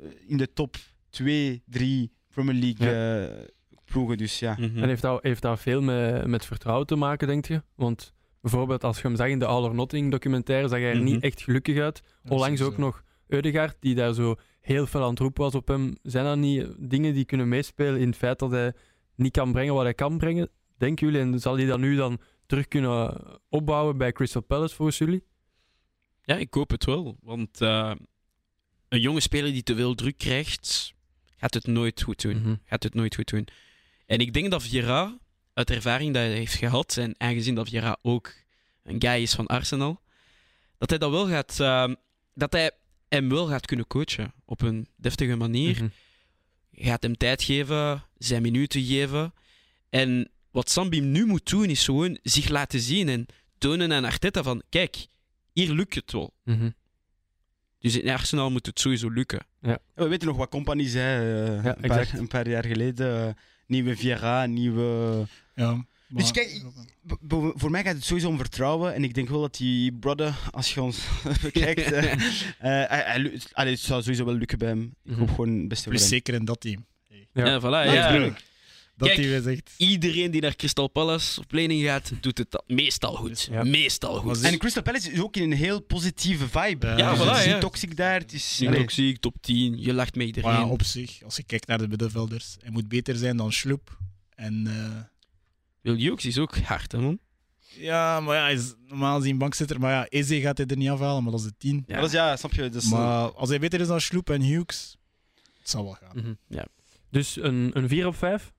Speaker 4: eh, in de top 2, 3 Premier League eh, ploegen, dus ja.
Speaker 5: Mhm.
Speaker 1: En heeft dat, heeft dat veel met, met vertrouwen te maken, denk je? Want bijvoorbeeld als je hem zag in de All or Nothing documentaire, zag hij er niet
Speaker 5: Mhm.
Speaker 1: echt gelukkig uit.
Speaker 3: Ja,
Speaker 1: Onlangs ook
Speaker 3: sowieso.
Speaker 1: nog Eudegaard, die daar zo heel veel aan het roepen was op hem. Zijn dat niet dingen die kunnen meespelen in het feit dat hij niet kan brengen wat hij kan brengen? Denken jullie, en zal hij dat nu dan terug kunnen opbouwen bij Crystal Palace volgens jullie?
Speaker 5: Ja, ik hoop het wel. Want eh, een jonge speler die te veel druk krijgt, gaat het nooit goed doen.
Speaker 1: Mhm.
Speaker 5: Gaat het nooit goed doen. En ik denk dat Vieira, uit ervaring dat hij heeft gehad, en aangezien dat Vieira ook een guy is van Arsenal, dat hij dat wel gaat... eh, dat hij hem wel gaat kunnen coachen op een deftige manier.
Speaker 1: Mhm.
Speaker 5: gaat hem tijd geven, zijn minuten geven. En wat Sambi nu moet doen, is gewoon zich laten zien en tonen aan Arteta van, kijk, hier lukt het wel.
Speaker 1: Mhm.
Speaker 5: Dus in Arsenal moet het sowieso lukken.
Speaker 4: Ja, We weten nog wat companies, hè, eh,
Speaker 1: Ja,
Speaker 4: een, paar,
Speaker 1: exact.
Speaker 4: een paar jaar geleden. eh, nieuwe Vieira, nieuwe...
Speaker 3: Ja, maar-
Speaker 4: Dus kijk, B- bo- voor mij gaat het sowieso om vertrouwen. En ik denk wel dat die brother, als je ons bekijkt... eh, eh, hij- hij lu- allee, het zou sowieso wel lukken bij hem. Ik hoop
Speaker 1: Mhm.
Speaker 4: gewoon het beste voor
Speaker 3: Plus
Speaker 4: hem.
Speaker 3: zeker in dat team.
Speaker 1: Ja.
Speaker 5: Ja, voilà.
Speaker 4: Ja,
Speaker 5: ja.
Speaker 4: tuurlijk.
Speaker 3: Dat
Speaker 5: Kijk,
Speaker 3: team is echt...
Speaker 5: Iedereen die naar Crystal Palace op lening gaat, doet het al- meestal goed.
Speaker 1: Ja.
Speaker 5: Meestal goed.
Speaker 3: Was
Speaker 4: En Crystal Palace is ook in een heel positieve vibe.
Speaker 3: Ja,
Speaker 4: Dus
Speaker 5: voilà,
Speaker 4: het is
Speaker 5: ja.
Speaker 4: niet toxic daar. Het is,
Speaker 5: Zie
Speaker 4: allee,
Speaker 5: ook ziek, top 10. Je lacht met iedereen.
Speaker 3: Maar ja, op zich, als je kijkt naar de middenvelders, hij moet beter zijn dan Sloep. En eh,
Speaker 5: Wiljoks is ook hard, hè, man.
Speaker 3: ja, maar ja, hij is normaal gezien bankzitter. Maar ja, Eze gaat hij er niet afhalen, maar dat is de tien.
Speaker 5: Ja.
Speaker 4: maar dat is, ja, snap je? Dat is,
Speaker 3: Maar als hij beter is dan Sloep en Hughes, het zal wel gaan.
Speaker 1: Mhm.
Speaker 5: Ja.
Speaker 1: Dus een, een 4 op 5?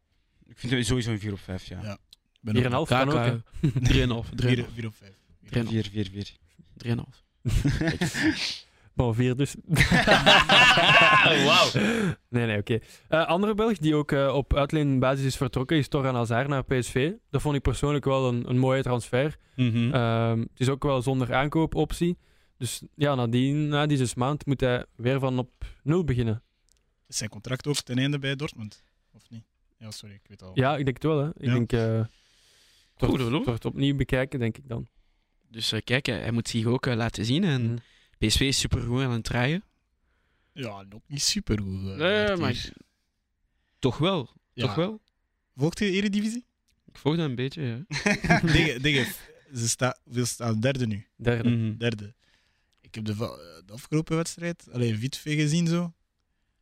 Speaker 4: Ik vind het sowieso een 4 op 5, ja.
Speaker 3: Ja. Ik ben
Speaker 1: 4,5 kan ook. hè?
Speaker 5: Kaka, 3,5. 3,5.
Speaker 3: 4 op 5.
Speaker 5: 3,5.
Speaker 4: 4, 4, 4.
Speaker 5: 3,5.
Speaker 1: Maar vier dus.
Speaker 5: Wauw.
Speaker 1: Nee, nee, oké. Eh, andere Belg die ook eh, op uitleenbasis is vertrokken is Torgan Hazard naar PSV. Dat vond ik persoonlijk wel een, een mooie transfer.
Speaker 5: Mhm.
Speaker 1: Ehm, het is ook wel zonder aankoopoptie. Dus ja, nadien, na deze maand moet hij weer van op nul beginnen.
Speaker 3: Is zijn contract ook ten einde bij Dortmund? Of niet? Ja, sorry, ik weet al.
Speaker 1: Ja, ik denk het wel. Hè. Ik
Speaker 3: Ja.
Speaker 1: denk... eh het
Speaker 5: Goed,
Speaker 1: wordt-
Speaker 5: hoor.
Speaker 1: het wordt opnieuw bekijken, denk ik dan.
Speaker 5: Dus eh, kijk, hij hij moet zich ook eh, laten zien. En
Speaker 1: Mhm.
Speaker 5: PSV is supergoed aan het draaien.
Speaker 3: Ja, nog niet eh, super goed. dus-
Speaker 5: maar- Toch wel. Toch wel.
Speaker 3: Volgt je de Eredivisie?
Speaker 5: Ik ik volg dat een beetje. Ja.
Speaker 3: Dingen, dingen. Ze sta, we staan derde nu.
Speaker 1: Derde.
Speaker 5: Mhm.
Speaker 3: Derde. Ik heb de, va- de afgelopen wedstrijd alleen Vitve gezien zo.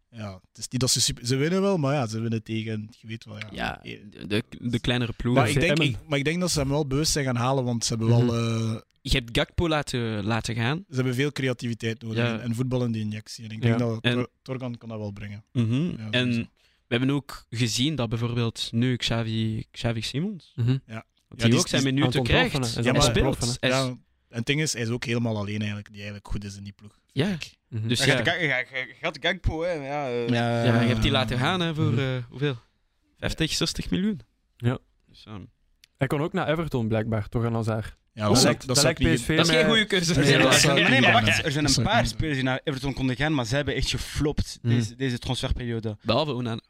Speaker 3: Ja, het is niet dat ze super, ze winnen wel, maar ja, ze winnen tegen, je weet wel. Ja.
Speaker 5: Ja,
Speaker 3: Eh,
Speaker 5: de, de kleinere ploegen.
Speaker 3: Maar ik, denk,
Speaker 1: Emmen.
Speaker 3: ik, maar ik denk dat ze hem wel bewust zijn gaan halen, want ze hebben wel eh,
Speaker 5: Je hebt Gakpo laten, laten gaan.
Speaker 3: ze hebben veel creativiteit nodig
Speaker 5: Ja.
Speaker 3: en, en voetballende injectie. En ik denk
Speaker 1: Ja.
Speaker 3: dat
Speaker 5: En-
Speaker 3: Tor- Torgan kan dat wel brengen.
Speaker 5: Mhm.
Speaker 3: Ja,
Speaker 5: en
Speaker 3: sowieso.
Speaker 5: we hebben ook gezien dat bijvoorbeeld nu Xavi, Xavi Simons,
Speaker 1: Mhm.
Speaker 5: dat
Speaker 3: Ja,
Speaker 5: hij
Speaker 3: die
Speaker 5: ook
Speaker 3: is-
Speaker 5: zijn
Speaker 1: die is
Speaker 5: minuten
Speaker 1: aan het
Speaker 5: krijgt.
Speaker 1: ontploffen, hè. Hij
Speaker 5: Hij
Speaker 3: is aan het
Speaker 5: speelt.
Speaker 1: ontploffen,
Speaker 5: Hij is-
Speaker 3: Ja, en het ding is, hij is ook helemaal alleen eigenlijk, die eigenlijk goed is in die ploeg.
Speaker 5: Ja.
Speaker 3: vind ik.
Speaker 1: Mhm.
Speaker 5: Dus
Speaker 4: Hij
Speaker 5: ja,
Speaker 4: gaat de gang- hij gaat- hij Gaat de gangpo, hè? maar Ja, eh,
Speaker 5: ja, je hebt die laten gaan hè, voor eh, hoeveel? 50, 60 miljoen.
Speaker 1: Ja.
Speaker 5: Dus, ehm,
Speaker 1: Hij kon ook naar Everton blijkbaar, toch aan Hazard.
Speaker 3: Ja,
Speaker 1: dat
Speaker 3: zou-
Speaker 1: lijkt, dat
Speaker 3: zou
Speaker 1: lijkt
Speaker 3: ik niet-
Speaker 1: PSV
Speaker 5: dat is geen
Speaker 1: mij-
Speaker 5: goede keuze.
Speaker 4: Er
Speaker 3: Nee,
Speaker 4: zijn,
Speaker 3: dat
Speaker 4: er
Speaker 3: zou
Speaker 4: zijn-
Speaker 3: ik
Speaker 4: nee,
Speaker 3: niet
Speaker 4: maar
Speaker 3: doen,
Speaker 4: wacht.
Speaker 3: hè.
Speaker 4: Er zijn
Speaker 3: Dat
Speaker 4: een
Speaker 3: zou ik
Speaker 4: paar
Speaker 3: niet doen.
Speaker 4: spelers die naar Everton konden gaan, maar ze hebben echt geflopt
Speaker 1: Hmm.
Speaker 4: deze, deze transferperiode.
Speaker 5: Behalve Onana.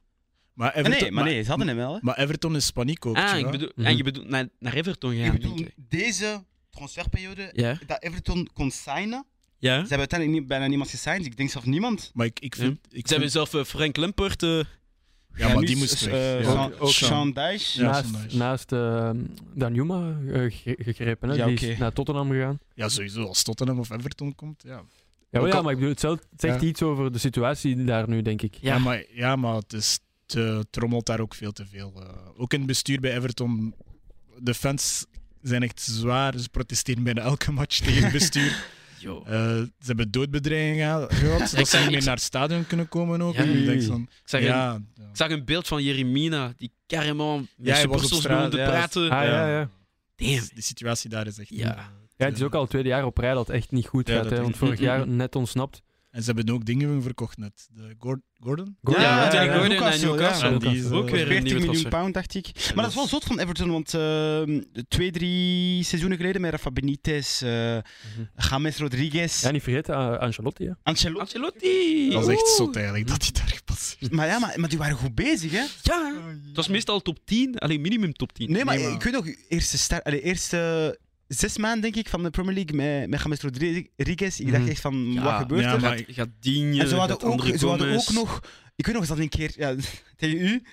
Speaker 3: Maar
Speaker 4: Ah,
Speaker 3: Everton,
Speaker 4: Eh, nee, maar nee, ze hadden hem wel. Hè.
Speaker 3: maar, maar Everton is paniek ook.
Speaker 5: Ah,
Speaker 3: zo,
Speaker 5: ik
Speaker 3: hè.
Speaker 5: bedoel,
Speaker 1: Mhm.
Speaker 5: en je bedoelt naar, naar Everton gaan,
Speaker 4: ik
Speaker 5: denk
Speaker 4: bedoel,
Speaker 5: ik.
Speaker 4: deze transferperiode,
Speaker 5: Ja.
Speaker 4: dat Everton kon signen.
Speaker 5: ja.
Speaker 4: Ze hebben uiteindelijk niet, bijna niemand gesigned. Ik denk zelfs niemand.
Speaker 3: Maar ik, ik vind... Ik
Speaker 5: Ze hebben
Speaker 3: vind
Speaker 5: zelf eh, Frank Lampert. eh,
Speaker 3: ja, maar die moest
Speaker 4: eh,
Speaker 3: weg.
Speaker 1: Sean-
Speaker 3: Ja.
Speaker 4: Sean-
Speaker 1: ook Sean.
Speaker 4: Sean Dyche.
Speaker 3: Ja,
Speaker 1: naast,
Speaker 3: Sondage.
Speaker 1: naast eh, Danjuma eh, ge- gegrepen. Hè?
Speaker 4: Ja,
Speaker 1: Die
Speaker 4: oké.
Speaker 1: is naar Tottenham gegaan.
Speaker 3: ja, sowieso. Als Tottenham of Everton komt, ja.
Speaker 1: Ja, maar,
Speaker 3: Ook
Speaker 1: ja,
Speaker 3: al-
Speaker 1: maar ik bedoel, het zegt- het zegt
Speaker 3: Ja.
Speaker 1: iets over de situatie daar nu, denk ik.
Speaker 5: Ja.
Speaker 3: Ja, maar, ja, maar het, is, te trommelt daar ook veel te veel. eh. ook in het bestuur bij Everton, de fans zijn echt zwaar. Ze protesteren bijna elke match tegen het bestuur.
Speaker 5: Yo.
Speaker 3: Eh, ze hebben doodbedreigingen geha- gehad,
Speaker 5: Ik
Speaker 3: dat ze
Speaker 5: zag-
Speaker 3: niet meer
Speaker 5: ik-
Speaker 3: naar het stadion kunnen komen ook.
Speaker 5: Ja.
Speaker 3: En ik denk van,
Speaker 5: Ik zag, een,
Speaker 3: ja, ja.
Speaker 5: ik zag een beeld van Jeremina, die carrément met
Speaker 3: Ja, hij was op
Speaker 5: supporters
Speaker 3: straat,
Speaker 5: begon te
Speaker 3: ja.
Speaker 5: praten.
Speaker 1: Ah, ja,
Speaker 3: Ja.
Speaker 1: ja.
Speaker 5: Damn.
Speaker 3: die situatie daar is echt...
Speaker 5: Ja.
Speaker 3: eh,
Speaker 1: Ja, het is ook al het tweede jaar op rij dat het echt niet goed
Speaker 3: Ja,
Speaker 1: gaat.
Speaker 3: dat
Speaker 1: Hè?
Speaker 3: is-
Speaker 1: Want vorig
Speaker 5: Mm, mm,
Speaker 1: jaar
Speaker 5: mm.
Speaker 1: net ontsnapt.
Speaker 3: En ze hebben ook dingen verkocht net. De Gor- Gordon?
Speaker 1: Gordon,
Speaker 5: Ja,
Speaker 1: ja,
Speaker 5: Anthony
Speaker 1: ja,
Speaker 5: Gordon en
Speaker 4: Newcastle,
Speaker 5: Newcastle.
Speaker 4: ja.
Speaker 1: Lucas.
Speaker 3: is, eh,
Speaker 5: Ook weer een
Speaker 4: 14
Speaker 5: nieuwe
Speaker 4: miljoen
Speaker 5: transfer.
Speaker 4: pound, dacht ik. Maar dat is wel
Speaker 5: dat
Speaker 4: zot van Everton, want eh, twee, drie seizoenen geleden met Rafa Benitez, eh
Speaker 1: Mhm.
Speaker 4: James Rodriguez,
Speaker 1: Ja, niet vergeten, eh, Ancelotti. Hè?
Speaker 4: Ancelotti.
Speaker 5: Ancelotti!
Speaker 3: Dat is echt
Speaker 5: Oeh.
Speaker 3: zot eigenlijk, dat hij daar gepasseerd is.
Speaker 4: Maar ja, maar, maar die waren goed bezig, hè?
Speaker 5: Ja, het was meestal top 10, alleen minimum top 10.
Speaker 4: Nee, maar
Speaker 3: Nee, maar-
Speaker 4: ik weet nog, eerste, star, allee, eerste zes maanden denk ik van de Premier League met, met James Rodriguez. Ik dacht
Speaker 1: Mhm.
Speaker 4: echt van,
Speaker 5: Ja,
Speaker 4: wat gebeurt
Speaker 3: ja,
Speaker 4: er?
Speaker 3: maar-
Speaker 5: Gaat, gaat Digne,
Speaker 4: en ze hadden,
Speaker 5: gaat
Speaker 4: ook,
Speaker 5: André
Speaker 4: ze hadden
Speaker 5: Gomes.
Speaker 4: ook nog, ik weet nog eens dat een keer, ja, tegen u,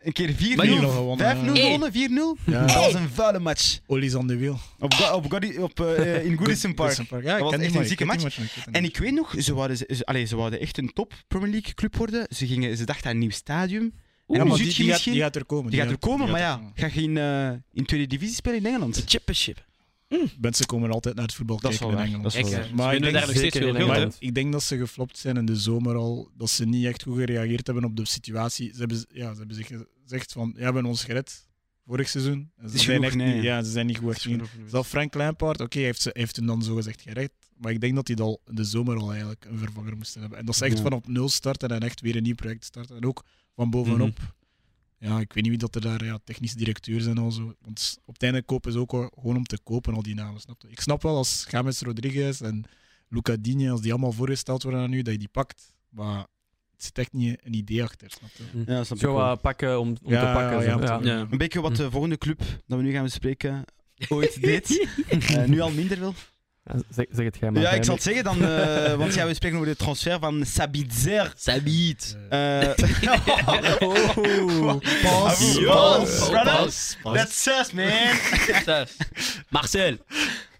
Speaker 4: een keer 4-0, 5-0
Speaker 5: Maar jullie
Speaker 3: hebben gewonnen,
Speaker 5: ja.
Speaker 4: gewonnen, 4-0.
Speaker 3: Ja.
Speaker 4: Dat was een vuile match.
Speaker 3: Ollie's on the wheel.
Speaker 4: Op, Go- op, Godi- op, eh, in Goodison Park.
Speaker 3: Ja,
Speaker 4: Dat was
Speaker 3: ik ken
Speaker 4: echt
Speaker 3: die
Speaker 4: een
Speaker 3: man, ik
Speaker 4: zieke
Speaker 3: ken die
Speaker 4: match.
Speaker 3: man, ik ken die
Speaker 4: En
Speaker 3: man.
Speaker 4: ik weet nog, ze wouden, ze, ze- allee, ze wouden echt een top Premier League club worden. Ze, gingen, ze dachten aan een nieuw stadium.
Speaker 3: Ja,
Speaker 4: nu
Speaker 3: maar die,
Speaker 4: ziet je
Speaker 3: die, gaat,
Speaker 4: misschien-
Speaker 3: die gaat er komen.
Speaker 4: Die gaat er komen,
Speaker 3: die
Speaker 4: maar
Speaker 3: gaat er
Speaker 4: ja,
Speaker 3: komen.
Speaker 4: ga je in, eh, in tweede divisie spelen in Engeland?
Speaker 5: De championship.
Speaker 3: Mensen komen altijd naar het voetbal
Speaker 4: Dat is
Speaker 3: kijken
Speaker 4: wel
Speaker 3: in
Speaker 4: waar,
Speaker 3: Engeland.
Speaker 4: dat is wel waar.
Speaker 5: Kijk, maar
Speaker 3: Maar
Speaker 5: ze
Speaker 3: ik
Speaker 5: winnen
Speaker 3: denk
Speaker 5: daar nog steeds
Speaker 1: zeker
Speaker 5: veel
Speaker 1: in
Speaker 5: geld
Speaker 1: Engeland.
Speaker 5: uit.
Speaker 3: Maar ik denk dat ze geflopt zijn in de zomer al. Dat ze niet echt goed gereageerd hebben op de situatie. Ze hebben, ja, ze hebben zich gezegd van, ja, we hebben ons gered. Vorig seizoen. En Ze
Speaker 4: is
Speaker 3: zijn,
Speaker 4: genoeg,
Speaker 3: echt
Speaker 4: nee.
Speaker 3: niet, ja, ze zijn niet goed achterin. Zelf Frank Lampard, oké, hij heeft, ze- hij heeft hem dan zogezegd gered. Maar ik denk dat hij dan in de zomer al eigenlijk een vervanger moesten hebben. En dat ze echt
Speaker 4: Ja.
Speaker 3: van op nul starten en echt weer een nieuw project starten. En ook van bovenop. Ja, ik weet niet wie dat er daar ja, technisch directeur zijn al zo. Want op het einde kopen ze ook al- gewoon om te kopen al die namen, snap je? Ik snap wel als James Rodriguez en Luca Digne, als die allemaal voorgesteld worden aan u, dat je die pakt. Maar het zit echt niet een idee achter, snap je?
Speaker 4: Ja, snap ik
Speaker 1: Zo
Speaker 4: wel.
Speaker 1: eh, pakken om, om te pakken. zo.
Speaker 3: om
Speaker 1: Ja.
Speaker 3: te-
Speaker 5: Ja.
Speaker 4: Een beetje wat de volgende club dat we nu gaan bespreken ooit deed. Eh, nu al minder wel.
Speaker 1: Ja, Zeg, zeg het jij maar.
Speaker 4: Ja, ik
Speaker 1: jij
Speaker 4: zal
Speaker 1: niet.
Speaker 4: het zeggen dan, eh, want ja, we spreken over de transfer van Sabitzer.
Speaker 5: Sabiet.
Speaker 3: Eh,
Speaker 4: Eh
Speaker 1: Oh.
Speaker 3: Eh,
Speaker 4: Pas,
Speaker 5: Yo,
Speaker 4: pas, brother.
Speaker 5: pas, pas.
Speaker 4: That's sus, man.
Speaker 5: Succes. Marcel.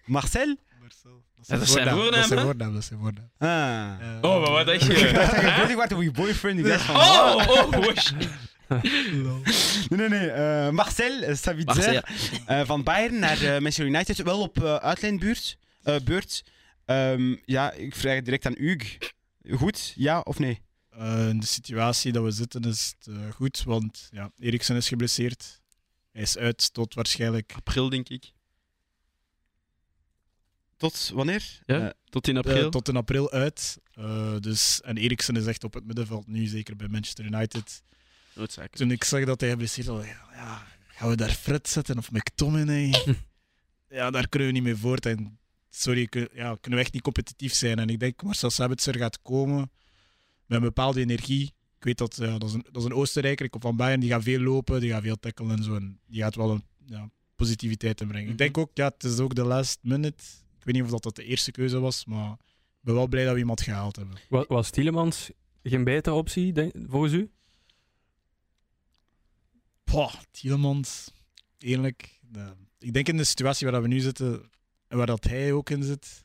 Speaker 4: Marcel?
Speaker 5: Dat is zijn
Speaker 3: voornaam, Dat is
Speaker 5: voornaam,
Speaker 3: zijn
Speaker 5: hè?
Speaker 3: voornaam, dat is zijn voornaam.
Speaker 4: Ah.
Speaker 3: Eh,
Speaker 5: Oh, maar wat dacht
Speaker 4: Ik
Speaker 5: je?
Speaker 4: dacht dat je bezig was over je boyfriend. Ik dacht van,
Speaker 5: Oh, oh, wesh.
Speaker 4: Nee, nee, nee. eh, Marcel eh, Sabitzer
Speaker 5: Marcel.
Speaker 4: eh, van Bayern naar eh, Manchester United. Wel op eh uitlijnbuurt. eh, beurt. Ehm, ja, ik vraag het direct aan Hugues. Goed, ja of nee?
Speaker 3: Eh, in de situatie dat we zitten is het eh, goed, want ja, Eriksen is geblesseerd. Hij is uit tot waarschijnlijk
Speaker 5: April, denk ik.
Speaker 4: Tot wanneer?
Speaker 5: Ja?
Speaker 4: Eh,
Speaker 5: Tot in
Speaker 3: eh,
Speaker 5: april.
Speaker 3: tot in april uit. Eh, dus, en Eriksen is echt op het middenveld nu, zeker bij Manchester United.
Speaker 5: Noodzaak.
Speaker 3: Toen ik zag dat hij geblesseerd was, ja, ja, gaan we daar Fred zetten of McTominay? ja, daar kunnen we niet mee voort. En, sorry, kun- ja, kunnen we echt niet competitief zijn. En ik denk Marcel Sabitzer gaat komen met een bepaalde energie. Ik weet dat, ja, dat, is een, dat is een Oostenrijker, ik kom van Bayern, die gaat veel lopen, die gaat veel tackelen en zo. En die gaat wel een ja, positiviteit inbrengen. Ik denk ook, ja, het is ook de last minute. Ik weet niet of dat, dat de eerste keuze was, maar ik ben wel blij dat we iemand gehaald hebben.
Speaker 1: Wa- Was Tielemans geen betere optie, denk, volgens u?
Speaker 3: Poh, Tielemans. eerlijk, eh, ik denk in de situatie waar dat we nu zitten en waar dat hij ook in zit,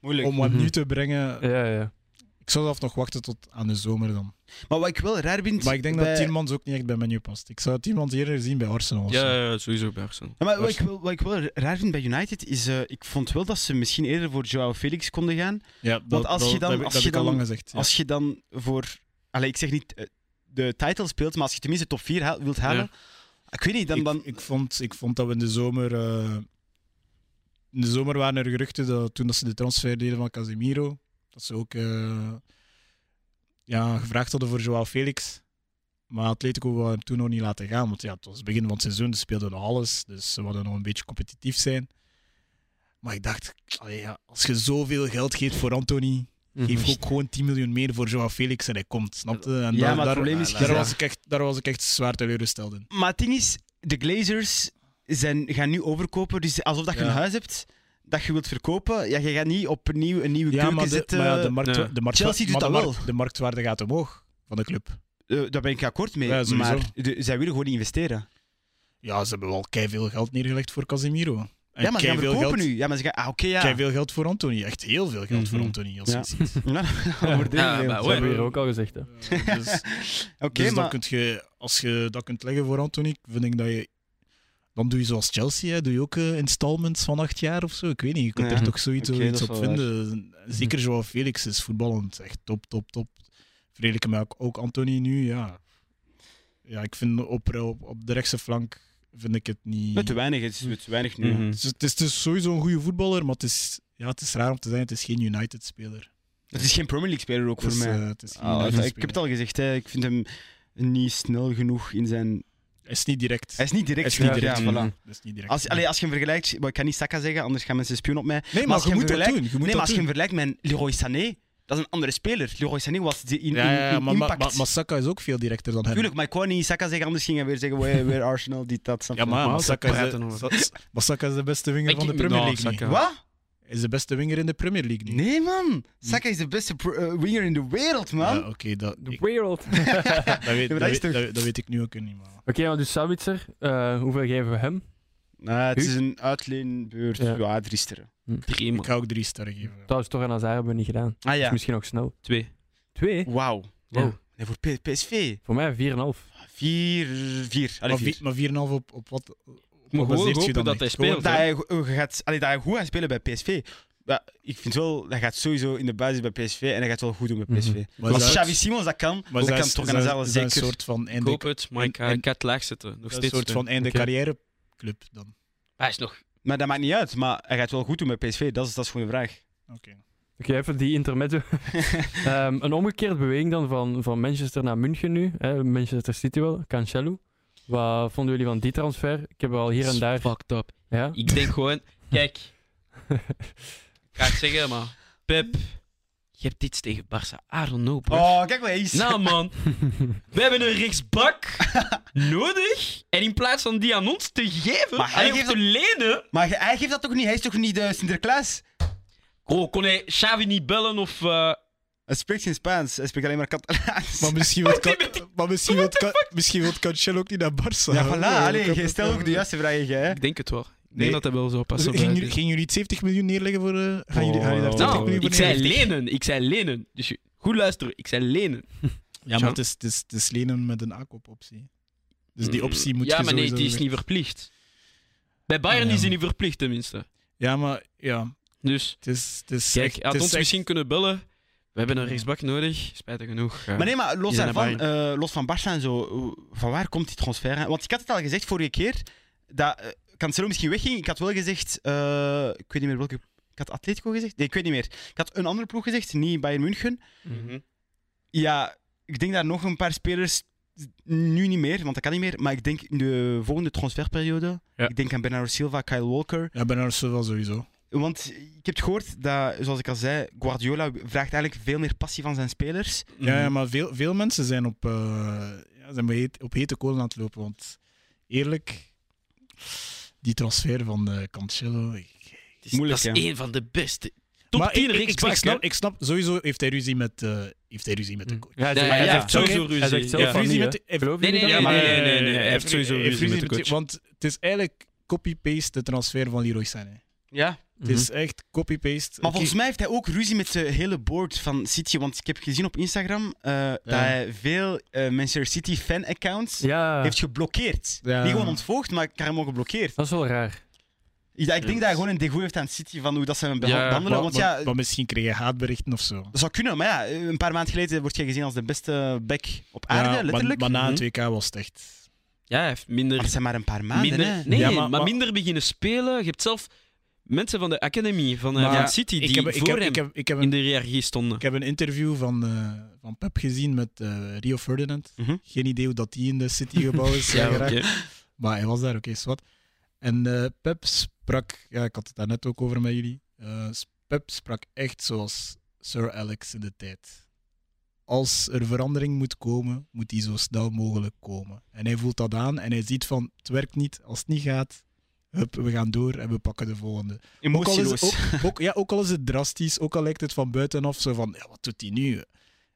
Speaker 4: Moeilijk.
Speaker 3: om hem
Speaker 1: Mhm.
Speaker 3: nu te brengen,
Speaker 1: Ja, ja.
Speaker 3: ik zou zelf nog wachten tot aan de zomer dan.
Speaker 4: Maar wat ik wel raar vind...
Speaker 3: Maar ik denk
Speaker 4: bij-
Speaker 3: dat Tiermans ook niet echt bij menu past. Ik zou Tiermans eerder zien bij Arsenal. of zo.
Speaker 5: Ja, ja, sowieso bij Arsenal.
Speaker 4: Ja, maar wat ik, wel, wat ik wel raar vind bij United is... eh, ik vond wel dat ze misschien eerder voor Joao Felix konden gaan.
Speaker 3: Ja, dat,
Speaker 4: Want als je
Speaker 3: dat-
Speaker 4: dan-
Speaker 3: dat, heb ik-
Speaker 4: als
Speaker 3: dat
Speaker 4: je
Speaker 3: heb ik al
Speaker 4: dan-
Speaker 3: lang gezegd. ja.
Speaker 4: Als je dan voor... Allee, ik zeg niet eh, de title speelt, maar als je tenminste top 4 haal- wilt halen... Ik weet niet, dan...
Speaker 3: ik,
Speaker 4: dan
Speaker 3: ik, vond, ik vond dat we in de zomer. eh, in de zomer waren er geruchten dat toen dat ze de transfer deden van Casemiro, dat ze ook eh, ja, gevraagd hadden voor Joao Felix. Maar Atletico wou hem toen nog niet laten gaan, want ja, het was het begin van het seizoen, ze speelden nog alles, dus ze wilden nog een beetje competitief zijn. Maar ik dacht, allee, ja, als je zoveel geld geeft voor Anthony, geef ook gewoon 10 miljoen meer voor Joao Felix en hij komt, snap je? En
Speaker 4: Mhm.
Speaker 3: daar,
Speaker 4: Ja, maar het
Speaker 3: daar,
Speaker 4: probleem is...
Speaker 3: daar, was ik echt, daar was ik echt zwaar teleurgesteld in.
Speaker 4: Maar het ding is, de Glazers zijn, gaan nu overkopen. Dus alsof dat je
Speaker 3: Ja.
Speaker 4: een huis hebt dat je wilt verkopen. Ja, je gaat niet opnieuw een nieuwe keuken
Speaker 3: maar de,
Speaker 4: zetten.
Speaker 3: Maar ja, de markt,
Speaker 5: Nee.
Speaker 3: de markt,
Speaker 4: Chelsea doet
Speaker 3: maar
Speaker 4: dat
Speaker 3: de markt- De marktwaarde gaat omhoog van de club.
Speaker 4: Eh, daar ben ik akkoord mee.
Speaker 3: Ja, sowieso.
Speaker 4: maar de- zij willen gewoon niet investeren.
Speaker 3: Ja, ze hebben wel veel geld neergelegd voor Casemiro. En
Speaker 4: ja, maar ze gaan
Speaker 3: veel
Speaker 4: verkopen
Speaker 3: geld,
Speaker 4: nu. Ja, maar ze gaan... Ah, oké, ja.
Speaker 3: veel geld voor Anthony. Echt heel veel geld voor
Speaker 1: Mhm.
Speaker 3: Anthony. Als
Speaker 4: Ja.
Speaker 3: je ziet.
Speaker 4: Nou, dan wordt het
Speaker 5: Ja,
Speaker 4: heel
Speaker 5: maar
Speaker 1: Dat
Speaker 4: veel.
Speaker 5: hoor.
Speaker 1: hebben we hier ook al gezegd. Hè.
Speaker 3: Eh, dus
Speaker 4: Oké,
Speaker 3: dus
Speaker 4: maar...
Speaker 3: dan kunt je, als je dat kunt leggen voor Anthony, vind ik dat je... Dan doe je zoals Chelsea, hè. doe je ook eh, installments van acht jaar of zo. Ik weet niet, je kunt
Speaker 4: Ja.
Speaker 3: er toch zoiets
Speaker 4: Oké,
Speaker 3: zoiets
Speaker 4: dat
Speaker 3: op
Speaker 4: is wel
Speaker 3: vinden. Zeker Joao Felix is voetballend echt top, top, top. Vergelijk hem ook, ook Anthony nu, ja. Ja, ik vind op, op, op de rechtse flank vind ik het niet...
Speaker 4: Met te weinig, het is met te weinig nu.
Speaker 5: Mhm.
Speaker 3: Het, is, het is dus sowieso een goede voetballer, maar het is, ja, het is raar om te zijn, het is geen United-speler.
Speaker 4: Het is geen Premier League-speler ook
Speaker 3: Het is,
Speaker 4: voor mij.
Speaker 3: eh, het is geen
Speaker 4: Ah, ik
Speaker 3: United-speler.
Speaker 4: heb het al gezegd, hè. ik vind hem niet snel genoeg in zijn...
Speaker 3: Hij is niet direct.
Speaker 4: Hij is niet direct.
Speaker 3: Hij is niet
Speaker 4: ja,
Speaker 3: direct,
Speaker 4: ja, voilà.
Speaker 3: Dat is niet direct.
Speaker 4: Als, allee, als je hem vergelijkt... maar Ik kan niet Saka zeggen, anders gaan mensen spion op mij.
Speaker 3: nee,
Speaker 4: maar
Speaker 3: maar,
Speaker 4: als
Speaker 3: je
Speaker 4: je
Speaker 3: moet
Speaker 4: hem
Speaker 3: dat doen. Je moet
Speaker 4: nee,
Speaker 3: dat
Speaker 4: maar als je
Speaker 3: doen.
Speaker 4: hem vergelijkt met Leroy Sané, dat is een andere speler. Leroy Sané was de in, in,
Speaker 3: Ja, ja, ja,
Speaker 4: in
Speaker 3: maar, maar,
Speaker 4: impact.
Speaker 3: maar, maar Saka is ook veel directer dan hem.
Speaker 4: Tuurlijk, maar ik wou niet Saka zeggen, anders ging hij weer zeggen, weer, weer Arsenal, dit, dat, snap
Speaker 3: Ja,
Speaker 4: je?
Speaker 3: maar, maar,
Speaker 5: Maar
Speaker 3: Saka is de,
Speaker 5: praten over.
Speaker 3: Sa- maar Saka is de beste winger
Speaker 5: Ik-
Speaker 3: van de
Speaker 5: ik-
Speaker 3: Premier
Speaker 5: nou,
Speaker 3: League. nu.
Speaker 5: Saka.
Speaker 4: Wat?
Speaker 3: Hij is de beste winger in de Premier League nu.
Speaker 4: Nee, man. Saka is de beste pro- eh, winger in de wereld, man.
Speaker 3: Ja, Oké, dat,
Speaker 1: The
Speaker 3: ik-
Speaker 1: world.
Speaker 3: dat, weet, dat,
Speaker 4: maar dat is
Speaker 3: weet,
Speaker 4: toch-
Speaker 3: dat- dat weet ik nu ook niet. Maar.
Speaker 1: Oké, maar dus Sabitzer, eh, hoeveel geven we hem?
Speaker 4: Nou, het
Speaker 1: U?
Speaker 4: is een uitleenbeurt.
Speaker 1: Ja.
Speaker 4: Ja, drie sterren.
Speaker 5: Drie,
Speaker 3: Ik
Speaker 5: man.
Speaker 3: ga ook drie sterren geven.
Speaker 1: Trouwens, toch en Hazard hebben we niet gedaan.
Speaker 4: Ah
Speaker 1: Dus
Speaker 4: ja,
Speaker 1: misschien ook snel.
Speaker 5: Twee.
Speaker 1: Twee?
Speaker 4: wauw.
Speaker 5: Ja.
Speaker 1: Wow.
Speaker 4: Nee, voor P- PSV.
Speaker 1: Voor mij 4,5.
Speaker 4: Vier, vier. Allee,
Speaker 3: Maar,
Speaker 4: vier.
Speaker 3: vi- maar 4,5 op, op wat?
Speaker 5: Ik moet
Speaker 3: Wat
Speaker 5: gewoon
Speaker 3: baseert je
Speaker 5: hopen
Speaker 3: dan
Speaker 5: dat
Speaker 3: echt?
Speaker 5: hij speelt.
Speaker 4: Dat
Speaker 5: hè.
Speaker 4: hij, go- eh, gaat, allee, dat hij goed gaat spelen bij PSV. Ja, ik vind wel, hij gaat sowieso in de basis bij PSV en hij gaat het wel goed
Speaker 3: Mhm.
Speaker 4: doen bij PSV.
Speaker 3: Maar
Speaker 4: Als
Speaker 3: zou-
Speaker 4: Xavi Simons dat kan,
Speaker 3: Maar
Speaker 4: dan
Speaker 3: zij
Speaker 4: kan
Speaker 3: is-
Speaker 4: toch
Speaker 3: zij-
Speaker 4: aan zelf
Speaker 3: zij
Speaker 4: zeker.
Speaker 3: een soort van
Speaker 5: Ik
Speaker 3: einde,
Speaker 5: hoop het, maar ik ga,
Speaker 3: en-
Speaker 5: ik ga het laag zetten. Nog
Speaker 3: dat is een
Speaker 5: steeds.
Speaker 3: soort van einde
Speaker 1: Oké.
Speaker 3: carrière club dan.
Speaker 5: Hij is nog...
Speaker 4: Maar dat maakt niet uit, maar hij gaat wel goed doen met PSV, dat is, dat is gewoon een vraag.
Speaker 1: Oké, even die intermezzo. Ehm, een omgekeerde beweging dan van, van Manchester naar München nu. Hè? Manchester City wel, Cancelo. Wat vonden jullie van die transfer? Ik heb al hier en daar...
Speaker 5: Fucked up.
Speaker 1: Ja?
Speaker 5: Ik denk gewoon... Kijk, ik ga het zeggen, maar... Pep, je hebt iets tegen Barça. I don't know, bro.
Speaker 4: Oh, kijk wat hij is.
Speaker 5: Nou, man. We hebben een rechtsbak nodig. En in plaats van die aan ons te geven,
Speaker 4: Maar hij
Speaker 5: alleen
Speaker 4: geeft
Speaker 5: of te lenen...
Speaker 4: Maar hij- hij geeft dat toch niet? Hij is toch niet de Sinterklaas?
Speaker 5: Oh, kon hij Xavi niet bellen of... eh,
Speaker 4: Hij spreekt geen Spaans, hij spreekt alleen maar Catalaans.
Speaker 3: Maar misschien wil
Speaker 5: Die met die-
Speaker 3: maar misschien wil Ca- misschien wil Cancelo ook niet naar Barça. Oh,
Speaker 4: Ja, voilà,
Speaker 3: ik
Speaker 4: allee,
Speaker 3: heb-
Speaker 4: je stel ook de juiste vragen. Hè.
Speaker 5: Eh? Ik denk het wel. Ik denk
Speaker 3: Nee.
Speaker 5: dat hij wel zo
Speaker 3: Dus
Speaker 5: passen.
Speaker 3: Gingen jullie- gingen jullie het 70 miljoen neerleggen voor... eh, gaan jullie, gaan jullie daar
Speaker 1: Oh.
Speaker 3: 20
Speaker 5: Nou,
Speaker 3: miljoen voor
Speaker 5: ik zei
Speaker 3: neerleggen?
Speaker 5: lenen. Ik zei lenen. Dus je- goed luisteren. Ik zei lenen.
Speaker 3: Ja, maar het is, het, is, het is lenen met een aankoopoptie. Dus die optie moet
Speaker 5: Mm. Ja,
Speaker 3: je
Speaker 5: maar nee,
Speaker 3: sowieso
Speaker 5: die is
Speaker 3: weg-
Speaker 5: niet verplicht. Bij Bayern
Speaker 3: Ja.
Speaker 5: is die niet verplicht, tenminste.
Speaker 3: Ja, maar ja,
Speaker 5: Dus
Speaker 3: het is, het is
Speaker 5: kijk,
Speaker 3: echt-
Speaker 5: hij
Speaker 3: het
Speaker 5: had
Speaker 3: is
Speaker 5: ons
Speaker 3: echt-
Speaker 5: misschien kunnen bellen. We hebben een rechtsbak nodig. Spijtig genoeg. eh,
Speaker 4: Maar nee, maar los
Speaker 5: Die zijn
Speaker 4: daarvan,
Speaker 5: naar
Speaker 4: eh, los van Barça en zo, eh, van waar komt die transfer aan? Want ik had het al gezegd vorige keer, dat eh, Cancelo misschien wegging. Ik had wel gezegd, eh, ik weet niet meer welke... Ik had Atletico gezegd? Nee, ik weet niet meer. Ik had een andere ploeg gezegd, niet Bayern München.
Speaker 5: mhm.
Speaker 4: Ja, ik denk daar nog een paar spelers. Nu niet meer, want dat kan niet meer. Maar ik denk in de volgende transferperiode.
Speaker 1: Ja.
Speaker 4: Ik denk aan Bernardo Silva, Kyle Walker.
Speaker 3: Ja, Bernardo Silva sowieso.
Speaker 4: Want ik heb het gehoord dat, zoals ik al zei, Guardiola vraagt eigenlijk veel meer passie van zijn spelers.
Speaker 5: Mhm.
Speaker 3: Ja, ja, maar veel, veel mensen zijn op, eh, ja, zijn bij heet- op hete kolen aan het lopen. Want eerlijk, die transfer van eh, Cancelo. ik-
Speaker 5: Het is-
Speaker 4: moeilijk,
Speaker 5: dat is
Speaker 4: hè.
Speaker 5: één van de beste. Top
Speaker 3: Maar
Speaker 5: 10
Speaker 3: ik, ik, ik,
Speaker 5: rechtsbakken.
Speaker 3: snap, ik snap, sowieso heeft hij ruzie met, eh, heeft hij ruzie met de
Speaker 1: Hm.
Speaker 3: coach.
Speaker 1: Ja, hij
Speaker 5: Ja,
Speaker 1: zegt-
Speaker 5: ja,
Speaker 1: hij
Speaker 5: ja,
Speaker 1: zegt zelf-
Speaker 5: sowieso
Speaker 1: Hij
Speaker 5: ruzie.
Speaker 1: zegt zelf
Speaker 5: Ja.
Speaker 1: van
Speaker 3: Ruzie
Speaker 1: niet,
Speaker 3: met
Speaker 1: hè.
Speaker 3: de- heeft-
Speaker 1: Geloven
Speaker 5: Nee,
Speaker 1: jullie
Speaker 5: nee,
Speaker 1: dat?
Speaker 5: ja, maar-
Speaker 3: eh,
Speaker 5: nee, nee, nee, nee, hij heeft sowieso
Speaker 3: heeft
Speaker 5: ruzie met de coach.
Speaker 3: Want het is eigenlijk copy-paste de transfer van Leroy Sané.
Speaker 4: Ja.
Speaker 3: Het
Speaker 5: Mhm.
Speaker 3: is echt copy-paste.
Speaker 4: Maar
Speaker 3: Oké,
Speaker 4: volgens mij heeft hij ook ruzie met de hele board van City. Want ik heb gezien op Instagram eh, dat hij veel eh, Manchester City fan-accounts
Speaker 1: Ja,
Speaker 4: heeft geblokkeerd.
Speaker 3: Ja.
Speaker 4: Niet gewoon ontvoogd, maar ik heb hem ook geblokkeerd.
Speaker 1: dat is wel raar.
Speaker 4: Ik, ik denk dat hij gewoon een degoe heeft aan City van hoe dat ze hem
Speaker 5: Ja,
Speaker 4: behandelen.
Speaker 3: maar,
Speaker 4: want
Speaker 3: maar-
Speaker 4: ja,
Speaker 3: maar misschien kreeg je haatberichten of zo.
Speaker 4: dat zou kunnen. Maar ja, een paar maanden geleden wordt jij gezien als de beste back op aarde,
Speaker 3: Ja, maar-
Speaker 4: letterlijk.
Speaker 3: Maar, na het
Speaker 5: Mhm.
Speaker 3: WK was het echt.
Speaker 5: Ja, hij heeft minder...
Speaker 4: Maar het zijn maar een paar maanden,
Speaker 5: minder
Speaker 4: hè.
Speaker 5: nee,
Speaker 3: Ja, maar-
Speaker 5: maar,
Speaker 3: maar-
Speaker 5: minder beginnen spelen. Je hebt zelf mensen van de academie van, eh,
Speaker 3: Maar-
Speaker 5: van City die
Speaker 3: Ik heb, ik,
Speaker 5: voor
Speaker 3: heb,
Speaker 5: hem
Speaker 3: ik, heb, ik, heb
Speaker 5: in
Speaker 3: een,
Speaker 5: de hiërarchie stonden.
Speaker 3: ik heb een interview van, eh, van Pep gezien met eh, Rio Ferdinand.
Speaker 4: Mhm.
Speaker 3: Geen idee hoe dat die in de City gebouw is
Speaker 5: Ja,
Speaker 3: eh, geraakt.
Speaker 5: oké.
Speaker 3: Maar hij was daar, oké, is wat. En eh, Pep sprak, ja, ik had het daar net ook over met jullie. eh, Pep sprak echt zoals Sir Alex in de tijd. Als er verandering moet komen, moet die zo snel mogelijk komen. En hij voelt dat aan en hij ziet van, het werkt niet, als het niet gaat, hup, we gaan door en we pakken de volgende. Ook al, is
Speaker 4: Emotieloos.
Speaker 3: het, ook, ook- ja, ook al is het drastisch, ook al lijkt het van buitenaf zo van, ja, wat doet hij nu?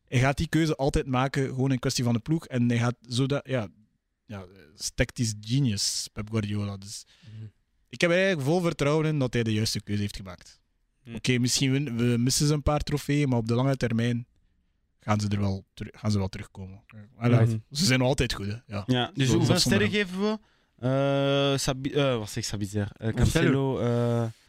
Speaker 3: Hij gaat die keuze altijd maken, gewoon in kwestie van de ploeg. En hij gaat zo dat, ja, ja tactisch genius, Pep Guardiola. Dus ik heb er eigenlijk vol vertrouwen in dat hij de juiste keuze heeft gemaakt.
Speaker 5: Hm.
Speaker 3: Oké, misschien win- we missen ze een paar trofeeën, maar op de lange termijn gaan ze er wel, teru- gaan ze wel terugkomen. Allee,
Speaker 5: Mhm.
Speaker 3: Ze zijn nog altijd goed, hè. Ja.
Speaker 4: Ja, dus
Speaker 3: Zo,
Speaker 4: hoeveel
Speaker 3: dat zonder
Speaker 4: sterren geven we? Eh Sabi eh, wat zeg ik, Sabitzer? Eh, Cancelo. eh,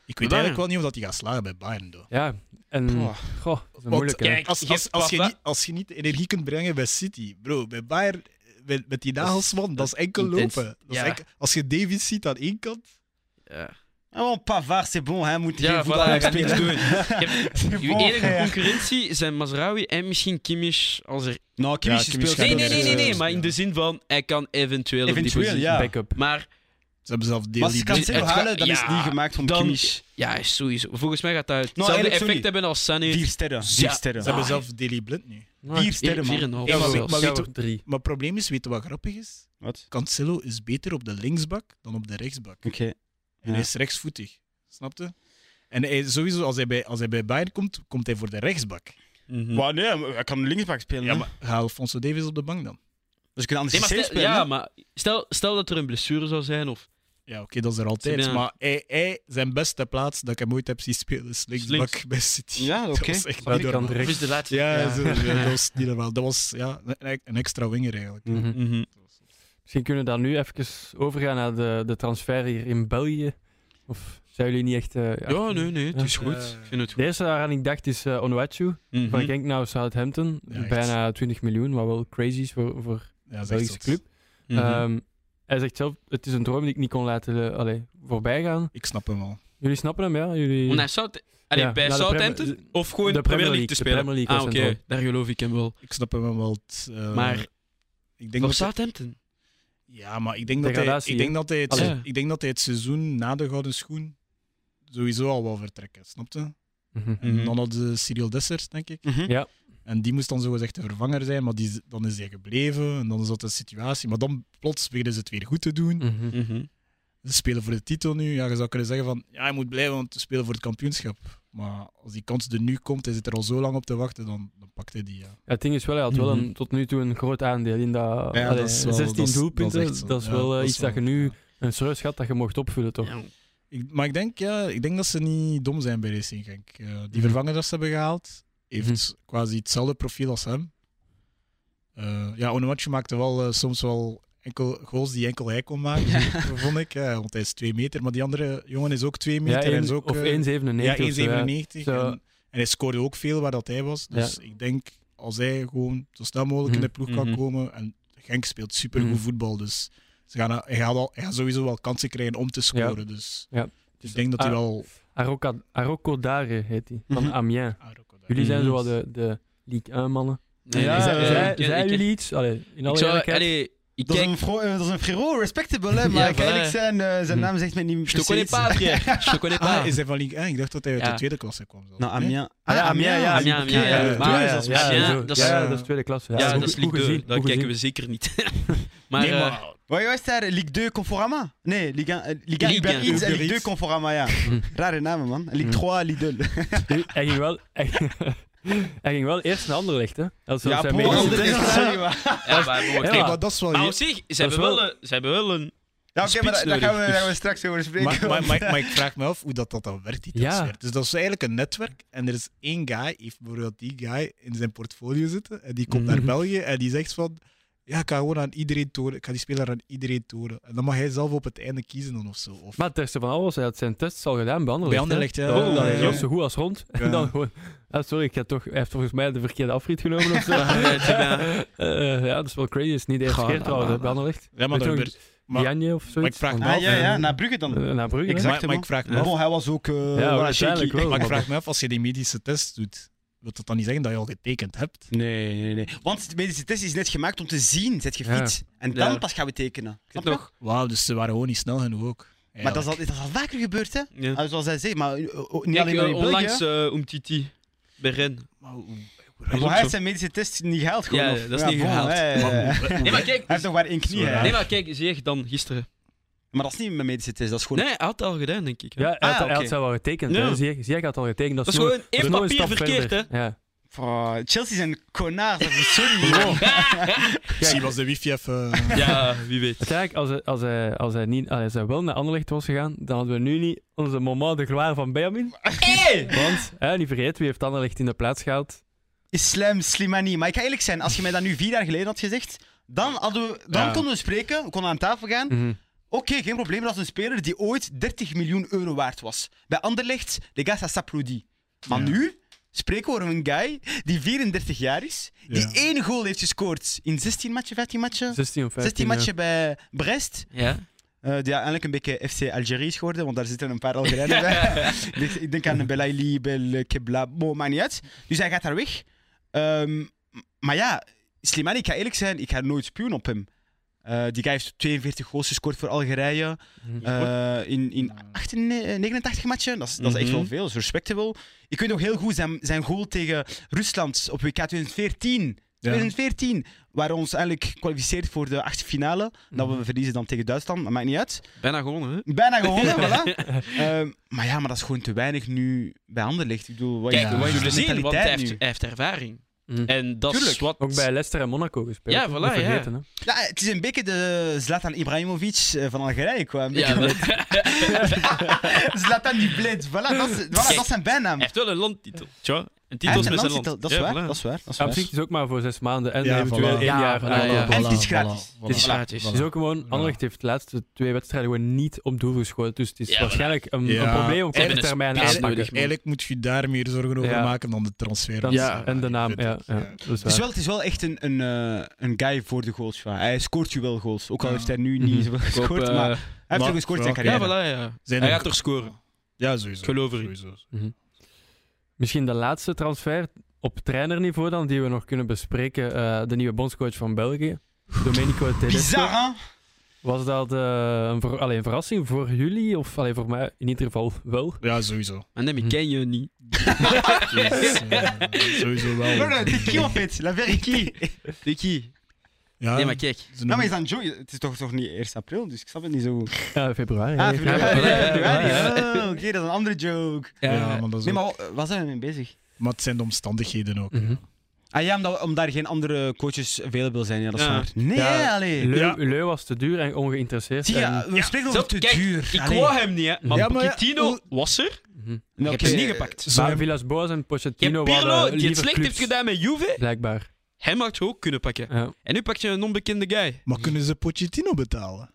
Speaker 3: Ik weet
Speaker 5: Bayern.
Speaker 3: eigenlijk wel niet of dat hij gaat slagen bij Bayern, though.
Speaker 1: Ja, en...
Speaker 4: Pff.
Speaker 1: Goh, dat is
Speaker 3: Want,
Speaker 1: moeilijk, hè.
Speaker 5: kijk,
Speaker 3: Als,
Speaker 5: je
Speaker 3: als,
Speaker 5: hebt
Speaker 3: als, je
Speaker 5: Pavla-
Speaker 3: niet, als je niet de energie kunt brengen bij City, bro, bij Bayern, met, met die Nagelsman, dat is enkel
Speaker 5: intens.
Speaker 3: lopen. Dat is
Speaker 5: Ja.
Speaker 3: enkel- als je Davies ziet aan één kant,
Speaker 5: Ja.
Speaker 4: Oh, Pavard, c'est bon, hij moet
Speaker 5: Ja,
Speaker 4: geen
Speaker 5: voilà,
Speaker 4: voetbal
Speaker 5: hij
Speaker 4: meer
Speaker 5: gaat niks
Speaker 4: spelen.
Speaker 5: doen. Je hebt-
Speaker 4: C'est
Speaker 5: Uw
Speaker 4: bon,
Speaker 5: enige
Speaker 4: ja.
Speaker 5: concurrentie zijn Mazraoui en misschien Kimmich als er...
Speaker 4: Nou, Kimmich
Speaker 3: Ja,
Speaker 4: speelt
Speaker 3: Kimmich
Speaker 5: Nee,
Speaker 3: gaat
Speaker 5: nee,
Speaker 3: er
Speaker 5: nee, nee,
Speaker 3: niet
Speaker 5: nee,
Speaker 3: spelen.
Speaker 5: maar in de zin van hij kan
Speaker 4: Eventueel,
Speaker 5: eventueel, op die positie.
Speaker 4: ja.
Speaker 1: Backup.
Speaker 5: Maar
Speaker 3: ze hebben zelf deel
Speaker 4: Maar als
Speaker 3: die
Speaker 4: ze Cancelo
Speaker 5: Het gaat-
Speaker 4: halen, dan is het
Speaker 5: ja,
Speaker 4: niet gemaakt van
Speaker 5: dan-
Speaker 4: Kimmich.
Speaker 5: ja, sowieso. Volgens mij gaat dat hetzelfde
Speaker 4: eigenlijk,
Speaker 5: effect
Speaker 4: sorry.
Speaker 5: hebben als Sané.
Speaker 4: Vier sterren. Vier
Speaker 5: Ja.
Speaker 4: sterren.
Speaker 3: Ze hebben
Speaker 5: Ah,
Speaker 3: zelf Daily Blind nu.
Speaker 1: Maar-
Speaker 4: Vier sterren,
Speaker 5: Vier
Speaker 4: man.
Speaker 5: en een half
Speaker 3: Ja, maar-
Speaker 5: zelfs.
Speaker 3: maar weet-
Speaker 1: Zelfs drie.
Speaker 3: Maar het probleem is, weet je wat grappig is?
Speaker 4: Wat?
Speaker 3: Cancelo is beter op de linksbak dan op de rechtsbak.
Speaker 4: Oké.
Speaker 3: En hij is rechtsvoetig, snapte? En hij, sowieso, als hij, bij, als hij bij Bayern komt, komt hij voor de rechtsbak.
Speaker 5: Mhm.
Speaker 4: Maar nee, maar hij kan linksback spelen.
Speaker 3: Ja,
Speaker 4: hè.
Speaker 3: maar ga Alfonso Davies op de bank dan?
Speaker 4: Dus ik kan anders
Speaker 5: Nee, maar
Speaker 4: systeem
Speaker 5: stel,
Speaker 4: spelen.
Speaker 5: ja,
Speaker 4: hè.
Speaker 5: maar stel, stel dat er een blessure zou zijn of
Speaker 3: Ja, oké, dat is er altijd.
Speaker 5: Ja.
Speaker 3: Maar hij, hij, zijn beste plaats dat ik hem ooit heb zien spelen is linksbak
Speaker 5: Links.
Speaker 3: bij City.
Speaker 4: Ja,
Speaker 3: Dat
Speaker 4: oké.
Speaker 3: was echt
Speaker 1: Maar
Speaker 3: niet
Speaker 1: die kan
Speaker 3: normaal.
Speaker 5: of
Speaker 1: direct...
Speaker 5: is de laatste.
Speaker 3: Ja, zo, ja,
Speaker 5: Ja.
Speaker 3: dat was niet normaal. Dat was ja, een, een extra winger eigenlijk.
Speaker 1: Mm.
Speaker 4: Mhm.
Speaker 5: Mhm.
Speaker 1: Misschien kunnen we dan nu even overgaan naar de, de transfer hier in België. Of zijn jullie niet echt... eh,
Speaker 5: Ja,
Speaker 1: achter-
Speaker 5: nee, nee, het
Speaker 1: Ja.
Speaker 5: is goed.
Speaker 3: Eh,
Speaker 5: Ik vind het
Speaker 1: De
Speaker 5: goed.
Speaker 1: eerste waaraan ik dacht is eh Onuachu.
Speaker 5: Mhm.
Speaker 1: Van Genk naar nou Southampton.
Speaker 3: Ja, echt.
Speaker 1: bijna 20 miljoen, wat wel crazy is voor, voor
Speaker 3: Ja,
Speaker 1: een
Speaker 3: dat is
Speaker 1: Belgische
Speaker 3: echt
Speaker 1: club.
Speaker 3: zot.
Speaker 5: Mhm.
Speaker 1: Ehm, hij zegt zelf, het is een droom die ik niet kon laten eh, allee, voorbij gaan.
Speaker 3: Ik snap hem al.
Speaker 1: Jullie snappen hem, ja? Jullie...
Speaker 5: Om naar South... Allee,
Speaker 1: Ja,
Speaker 5: bij
Speaker 1: naar de
Speaker 5: Southampton?
Speaker 1: Premier-
Speaker 5: Of gewoon
Speaker 1: de
Speaker 5: de Premier League te
Speaker 1: de
Speaker 5: spelen?
Speaker 1: Premier League
Speaker 5: ah,
Speaker 1: was
Speaker 5: oké.
Speaker 1: het wel.
Speaker 5: Daar geloof ik hem wel.
Speaker 3: Ik snap hem wel. het, eh,
Speaker 5: Maar-
Speaker 3: ik denk
Speaker 5: Voor
Speaker 3: dat hij-
Speaker 5: Southampton?
Speaker 3: Ja, maar ik denk dat hij,
Speaker 1: Degradatie,
Speaker 3: ik denk dat hij, het,
Speaker 1: Allee.
Speaker 3: ik denk dat hij het seizoen na de Gouden Schoen sowieso al wel vertrekken, snapte?
Speaker 1: Mhm.
Speaker 3: En
Speaker 5: Mhm.
Speaker 3: dan had de Cyril Dessers, denk ik.
Speaker 4: Mhm.
Speaker 1: Ja.
Speaker 3: En die moest dan zogezegd de vervanger zijn, maar die, is- dan is hij gebleven. En dan is dat de situatie. Maar dan plots beginnen ze het weer goed te doen.
Speaker 1: Mhm.
Speaker 5: Mhm.
Speaker 3: Ze spelen voor de titel nu. Ja, je zou kunnen zeggen van, ja, hij moet blijven, want we spelen voor het kampioenschap. Maar als die kans er nu komt, hij zit er al zo lang op te wachten, dan, dan pakt hij die, ja.
Speaker 1: Ja, het ding is wel, hij had wel een,
Speaker 5: Mhm.
Speaker 1: tot nu toe een groot aandeel in dat, allee,
Speaker 3: dat is wel-
Speaker 1: 16
Speaker 3: dat is-
Speaker 1: doelpunten.
Speaker 3: dat
Speaker 1: Dat
Speaker 3: is
Speaker 1: is,
Speaker 3: echt zo. Ja,
Speaker 1: wel eh,
Speaker 3: dat is
Speaker 1: iets dat je
Speaker 3: wel-
Speaker 1: nu
Speaker 3: ja.
Speaker 1: een serieus gat dat je mocht opvullen, toch?
Speaker 5: Ja.
Speaker 3: Ik, maar ik denk, ja, ik denk dat ze niet dom zijn bij Racing Genk. Eh,
Speaker 1: Mhm.
Speaker 3: die vervanger dat ze hebben gehaald, heeft quasi hetzelfde profiel als hem. Eh, ja, Onuatje maakte wel eh, soms wel enkel goals die enkel hij kon maken, vond ik. eh, want hij is twee meter, maar die andere jongen is ook twee meter.
Speaker 1: Ja,
Speaker 3: en
Speaker 1: één-
Speaker 3: is ook,
Speaker 1: of
Speaker 3: eh,
Speaker 1: 1,97.
Speaker 3: Ja,
Speaker 1: of zo,
Speaker 3: 1,97.
Speaker 1: ja. Zo.
Speaker 3: En, en hij scoorde ook veel waar dat hij was. Dus ik denk, als hij gewoon zo snel mogelijk in de ploeg kan
Speaker 5: Mhm.
Speaker 3: komen... En Genk speelt supergoed
Speaker 1: Mhm.
Speaker 3: voetbal, dus ze gaan, hij, gaat al, hij gaat sowieso wel kansen krijgen om te scoren. Dus
Speaker 1: Ja.
Speaker 3: ik denk dat hij
Speaker 1: Ah.
Speaker 3: wel...
Speaker 1: Aroca- Arocodare heet hij, van
Speaker 4: Mhm.
Speaker 1: Amiens. Jullie
Speaker 5: Ah.
Speaker 1: zijn
Speaker 3: Mhm.
Speaker 1: zo wat de, de League 1 mannen.
Speaker 5: Nee,
Speaker 4: Ja,
Speaker 5: nee,
Speaker 1: Zij-
Speaker 4: eh,
Speaker 5: ik-
Speaker 1: zij-
Speaker 5: ik-
Speaker 1: zeiden
Speaker 5: ik-
Speaker 1: jullie iets? Allee, in
Speaker 5: Ik
Speaker 1: alle
Speaker 5: zou...
Speaker 1: eerlijkheid.
Speaker 5: Allee, ik
Speaker 4: Dat, is
Speaker 5: kijk...
Speaker 4: een vro- eh, dat is een frérot, respectable, hein, hè? Maar
Speaker 5: Ja,
Speaker 4: kijk,
Speaker 5: voilà.
Speaker 4: eigenlijk zijn, eh, zijn
Speaker 1: Mhm.
Speaker 4: naam zegt mij niet
Speaker 5: Je te connais pas, Pierre. Je te connais pas.
Speaker 3: Ah, is hij van Ligue 1? Ik dacht dat hij uit
Speaker 5: Ja.
Speaker 3: de tweede klasse kwam. zelfs.
Speaker 4: Nou,
Speaker 3: Nee?
Speaker 4: Amiens. Ah, ja, Amiens, euh, ja.
Speaker 5: Amiens,
Speaker 4: oké,
Speaker 5: Amiens,
Speaker 4: ja,
Speaker 3: ja.
Speaker 4: ja,
Speaker 5: Maar,
Speaker 4: ja,
Speaker 5: ja,
Speaker 4: ja.
Speaker 5: Amiens,
Speaker 1: zo.
Speaker 5: dat is-
Speaker 1: ja, dat is tweede klasse.
Speaker 5: Ja,
Speaker 1: Ja,
Speaker 5: dat is
Speaker 1: goed- goed
Speaker 5: Ligue 2.
Speaker 1: gezien,
Speaker 5: Daar
Speaker 1: goed
Speaker 5: kijken we
Speaker 1: gezien.
Speaker 5: zeker niet. Maar...
Speaker 3: Nee,
Speaker 5: eh,
Speaker 3: maar-
Speaker 4: Wat was daar? Ligue 2 Conforama? Nee, Ligue 1, eh, Ligue 1
Speaker 5: Ligue Mm.
Speaker 4: Uber
Speaker 5: 1,
Speaker 4: Eats en
Speaker 3: Uber
Speaker 4: Ligue 2
Speaker 3: Eats.
Speaker 4: Conforama, ja.
Speaker 1: Mhm.
Speaker 4: Rare namen, man. Ligue
Speaker 1: Mhm.
Speaker 4: 3, Lidl.
Speaker 1: Hij ging wel... Hij, hij ging wel eerst naar Anderlecht, hè? Dat is zelfs zijn
Speaker 4: Paul,
Speaker 1: mening.
Speaker 4: Anderlecht,
Speaker 5: Ja.
Speaker 4: sorry, maar-
Speaker 5: Ja, maar, maar,
Speaker 1: Ja,
Speaker 5: kijk,
Speaker 3: maar dat is wel...
Speaker 5: Maar
Speaker 3: je-
Speaker 5: op zich, ze
Speaker 1: Dat is
Speaker 5: hebben wel, een- ze hebben wel
Speaker 4: Ja,
Speaker 5: een,
Speaker 4: oké, maar
Speaker 5: spits
Speaker 4: daar daar gaan, we,
Speaker 5: nodig,
Speaker 4: daar gaan we
Speaker 5: dus.
Speaker 4: straks over
Speaker 3: Maar,
Speaker 4: spreken.
Speaker 3: maar, maar, maar ik vraag me af hoe dat, dat dan werkt, die
Speaker 1: Ja.
Speaker 3: transfer. Dus dat is eigenlijk een netwerk en er is één guy, heeft bijvoorbeeld die guy in zijn portfolio zitten en die komt naar
Speaker 1: Mhm.
Speaker 3: België en die zegt van ja, ik ga gewoon aan iedereen toren, ik ga die speler aan iedereen toren. En dan mag hij zelf op het einde kiezen dan of zo. Of,
Speaker 1: Maar het eerste van alles, hij had zijn tests al gedaan bij Anderlecht.
Speaker 3: Bij Anderlecht,
Speaker 1: hè.
Speaker 3: ja.
Speaker 1: Daarom dat hij
Speaker 4: Ja.
Speaker 1: was zo goed als rond.
Speaker 3: Ja.
Speaker 1: En dan gewoon... Ah, sorry, ik heb toch, hij heeft volgens mij de verkeerde afrit genomen of zo.
Speaker 5: Ah, ja, ja.
Speaker 1: Eh, ja, dat is wel crazy. Het is niet de eerste
Speaker 5: Goh,
Speaker 1: keer
Speaker 5: nou,
Speaker 1: trouwens,
Speaker 5: nou,
Speaker 1: hè, bij Anderlecht.
Speaker 3: ja,
Speaker 1: Weet
Speaker 3: maar, dat
Speaker 1: je nog,
Speaker 3: gebeurt- maar,
Speaker 1: Diagne of zoiets.
Speaker 3: maar ik vraag me
Speaker 4: Ah,
Speaker 3: af-
Speaker 4: ja, ja, naar Brugge dan.
Speaker 1: Eh, Naar Brugge, hè.
Speaker 4: Exact.
Speaker 3: maar, maar ik vraag me
Speaker 1: Ja.
Speaker 3: af,
Speaker 5: hein.
Speaker 4: Bon, hij was ook... eh, wel een
Speaker 1: waarschijnlijk
Speaker 4: shaky.
Speaker 1: wel.
Speaker 3: maar ik vraag me af, als je die medische test doet, wil dat dan niet zeggen dat je al getekend hebt?
Speaker 4: Nee, nee, nee. Want de medische test is net gemaakt om te zien, zet je
Speaker 1: Ja.
Speaker 4: fiets. En dan
Speaker 5: Ja.
Speaker 4: pas gaan we tekenen. Snap je?
Speaker 5: Toch?
Speaker 3: Wauw, dus ze waren gewoon niet snel genoeg ook.
Speaker 4: Maar dat
Speaker 3: eigenlijk.
Speaker 4: is, al, dat is al vaker gebeurd, hè?
Speaker 5: Ja.
Speaker 4: Ah, Zoals hij zegt, maar eh, oh, niet
Speaker 5: Kijk,
Speaker 4: alleen maar
Speaker 5: eh,
Speaker 4: in België.
Speaker 5: onlangs
Speaker 4: hè.
Speaker 5: eh Umtiti bij Ren.
Speaker 3: Maar hoe- hoe-
Speaker 4: Maar
Speaker 5: is
Speaker 4: hij
Speaker 5: ook
Speaker 4: heeft
Speaker 5: zo.
Speaker 4: zijn medische test niet gehaald, gewoon.
Speaker 5: Ja,
Speaker 4: of-
Speaker 5: dat is niet gehaald.
Speaker 4: hè, ja, ja. Hij
Speaker 5: Nee, maar kijk, dus-
Speaker 4: heeft nog maar één knie,
Speaker 3: Zo raar.
Speaker 4: hè?
Speaker 5: nee, maar kijk zie je dan gisteren.
Speaker 4: Maar dat is niet mijn medische test, dat is gewoon...
Speaker 5: Nee, hij had het al gedaan, denk ik. hè.
Speaker 1: Ja, hij had,
Speaker 4: Ah,
Speaker 1: hij had
Speaker 4: oké.
Speaker 1: zelf al getekend.
Speaker 5: Ja.
Speaker 1: hè. Zie Ziyech had al getekend. Dat
Speaker 5: Dat
Speaker 1: is,
Speaker 5: is
Speaker 1: nog-
Speaker 5: gewoon één
Speaker 1: dat is dus. nog een
Speaker 5: papier
Speaker 1: stap
Speaker 5: verkeerd, hè?
Speaker 1: verder. Ja.
Speaker 4: Pff, eh, Chelsea zijn konaars, dat is sorry. man.
Speaker 3: Misschien was de wifi even...
Speaker 5: Ja, wie weet.
Speaker 1: Uiteindelijk, als hij, als, hij, als, hij niet, als hij wel naar Anderlecht was gegaan, dan hadden we nu niet onze moment de gloire van Benjamin. Want, hè, niet vergeten, wie heeft Anderlecht in de plaats gehaald?
Speaker 4: Islam Slimani. Maar ik ga eerlijk zijn, als je mij dat nu vier jaar geleden had gezegd, dan, hadden we, dan
Speaker 3: Ja.
Speaker 4: konden we spreken, we konden aan tafel gaan.
Speaker 1: Mhm.
Speaker 4: Oké, geen probleem, dat is een speler die ooit 30 miljoen euro waard was. Bij Anderlecht, de Gassa Saproudi. Maar
Speaker 3: Ja.
Speaker 4: nu spreken we over een guy die 34 jaar is, die
Speaker 3: Ja.
Speaker 4: één goal heeft gescoord in 16 matchen, 15 matchen?
Speaker 1: 16 of 15.
Speaker 4: 16
Speaker 1: ja.
Speaker 4: matchen bij Brest.
Speaker 5: Ja.
Speaker 4: Eh, die eigenlijk een beetje FC Algerie is geworden, want daar zitten een paar Algerijnen bij. Dus ik denk aan Belaili, Bel Kebla, bon, maakt niet uit. Dus hij gaat daar weg. Ehm, m- maar ja, Slimani, ik ga eerlijk zijn, ik ga nooit spuwen op hem. Eh, die guy heeft 42 goals gescoord voor Algerije.
Speaker 1: Mhm.
Speaker 4: eh, in in 88, 89 matchen, dat is, dat is echt
Speaker 5: Mhm.
Speaker 4: wel veel, dat is respectable. Ik weet nog heel goed zijn, zijn goal tegen Rusland op WK 2014.
Speaker 3: Ja.
Speaker 4: 2014, waar ons eigenlijk kwalificeert voor de achtste finale.
Speaker 5: Mhm.
Speaker 4: Dat we verliezen dan tegen Duitsland, dat maakt niet uit.
Speaker 5: Bijna gewonnen, hè?
Speaker 4: Bijna gewonnen, voilà. Ehm, maar ja, maar dat is gewoon te weinig nu bij handen ligt. Ik bedoel, wat is,
Speaker 5: Kijk,
Speaker 3: Ja.
Speaker 5: we
Speaker 4: wat is
Speaker 5: zullen
Speaker 4: de
Speaker 5: zien, want hij
Speaker 4: mentaliteit
Speaker 5: heeft,
Speaker 4: nu?
Speaker 5: hij heeft ervaring.
Speaker 1: Mhm.
Speaker 5: En dat is
Speaker 4: Tuurlijk.
Speaker 5: wat...
Speaker 1: Ook bij Leicester en Monaco gespeeld.
Speaker 5: Ja,
Speaker 1: hè.
Speaker 5: voilà,
Speaker 1: Niet vergeten, hè.
Speaker 4: Ja, Nou, het is een beetje de Zlatan Ibrahimovic eh, van Algerije qua. een
Speaker 5: Ja,
Speaker 4: beetje
Speaker 5: dat- hij
Speaker 4: Zlatan die bleed. Voilà, dat is, voilà, dat is zijn bijnaam.
Speaker 5: heeft wel een landtitel. Tja, een
Speaker 4: Hij
Speaker 5: titel
Speaker 4: heeft
Speaker 5: met
Speaker 4: een
Speaker 5: zijn land.
Speaker 4: landstitel, Dat is
Speaker 5: Ja,
Speaker 4: waar,
Speaker 5: voilà.
Speaker 4: dat is waar. Dat is
Speaker 1: Ja, op
Speaker 4: waar.
Speaker 1: zich is het ook maar voor zes maanden en
Speaker 3: Ja,
Speaker 1: eventueel
Speaker 3: voilà.
Speaker 1: één
Speaker 5: Ja,
Speaker 1: jaar.
Speaker 5: voilà,
Speaker 1: aan de
Speaker 5: ja.
Speaker 1: hand.
Speaker 4: En het is gratis.
Speaker 5: Het is gratis.
Speaker 1: Het is ook gewoon, Anderlecht heeft de laatste twee wedstrijden gewoon niet op doel geschoten. Dus het is
Speaker 5: Ja,
Speaker 1: waarschijnlijk een,
Speaker 3: Ja.
Speaker 1: een probleem op
Speaker 5: Ze hebben
Speaker 1: korte
Speaker 5: een
Speaker 1: termijn
Speaker 5: spits
Speaker 1: aanpakken.
Speaker 5: nodig.
Speaker 3: Eigenlijk moet je daar meer zorgen over
Speaker 1: Ja.
Speaker 3: maken dan de transfer.
Speaker 1: Dat-
Speaker 5: Ja.
Speaker 1: En de naam, ja. ja.
Speaker 3: Ja.
Speaker 1: dat is
Speaker 4: Het is,
Speaker 1: waar.
Speaker 4: wel, het is wel echt een, een, eh, een guy voor de goals. ja. Hij scoort je wel goals. Ook al
Speaker 3: Ja.
Speaker 4: heeft hij nu
Speaker 1: Mhm.
Speaker 4: niet zoveel
Speaker 5: Ik hoop,
Speaker 4: gescoord.
Speaker 5: eh,
Speaker 4: Maar hij heeft
Speaker 3: maar-
Speaker 4: toch gescoord in zijn
Speaker 5: ja,
Speaker 4: carrière.
Speaker 5: voilà, ja.
Speaker 3: Zijn
Speaker 5: Hij
Speaker 3: er-
Speaker 5: gaat toch scoren?
Speaker 3: Ja, sowieso.
Speaker 5: Ik geloof erin.
Speaker 3: sowieso.
Speaker 1: Misschien de laatste transfer op trainerniveau dan, die we nog kunnen bespreken. eh, de nieuwe bondscoach van België, Domenico Tedesco.
Speaker 4: Bizar, hè?
Speaker 1: Was dat eh, een, ver- allee, een verrassing voor jullie? Of allee, voor mij in ieder geval wel?
Speaker 3: Ja, sowieso.
Speaker 5: Maar nee, ik ken je niet.
Speaker 3: Dus, eh, sowieso
Speaker 4: No,
Speaker 3: wel.
Speaker 4: no, t'es qui en fait? La vérité.
Speaker 5: Dikkie.
Speaker 3: Ja,
Speaker 5: Nee, maar kijk.
Speaker 3: ze
Speaker 4: Nou, maar
Speaker 3: noemen-
Speaker 4: is aan Joey. Het is toch, toch niet 1 april, dus ik snap het niet zo goed.
Speaker 1: Eh, februari.
Speaker 4: Ah,
Speaker 1: hè.
Speaker 4: februari.
Speaker 5: ja, ja,
Speaker 4: februari.
Speaker 5: ja,
Speaker 4: Oh, Oké, dat is een andere joke.
Speaker 5: Eh,
Speaker 3: ja, maar, dat is
Speaker 4: Nee,
Speaker 3: ook-
Speaker 4: maar wa- waar zijn we mee bezig?
Speaker 3: maar het zijn de omstandigheden ook.
Speaker 1: Mhm.
Speaker 4: Ah ja, omdat, daar geen andere coaches available zijn. Ja, dat
Speaker 5: dat
Speaker 4: is
Speaker 5: is Ja.
Speaker 4: waar. Nee,
Speaker 5: waar.
Speaker 1: Ja.
Speaker 4: hè, allee.
Speaker 1: Leu,
Speaker 3: Ja.
Speaker 1: Leu was te duur en ongeïnteresseerd.
Speaker 4: Zie
Speaker 1: en-
Speaker 4: je, we spreken over
Speaker 5: Zo,
Speaker 4: te
Speaker 5: kijk,
Speaker 4: duur.
Speaker 5: Ik
Speaker 4: Allee.
Speaker 5: wou hem niet, hè. Maar
Speaker 3: Ja, maar ja,
Speaker 5: Pochettino
Speaker 3: hoe-
Speaker 5: was er.
Speaker 1: Mhm.
Speaker 5: Je
Speaker 4: Nee,
Speaker 5: hebt
Speaker 4: oké,
Speaker 5: ze niet
Speaker 4: eh,
Speaker 5: gepakt.
Speaker 3: Ze
Speaker 1: Maar
Speaker 3: hebben-
Speaker 1: Villas-Boas en
Speaker 5: Je hebt
Speaker 1: Pochettino
Speaker 5: Pirlo,
Speaker 1: waren
Speaker 5: die het
Speaker 1: liever
Speaker 5: slecht heeft
Speaker 1: uh, clubs,
Speaker 5: gedaan met Juve.
Speaker 1: Blijkbaar.
Speaker 5: Hem had je ook kunnen pakken.
Speaker 1: Ja.
Speaker 5: En nu pak je een onbekende guy.
Speaker 3: maar kunnen ze Pochettino betalen?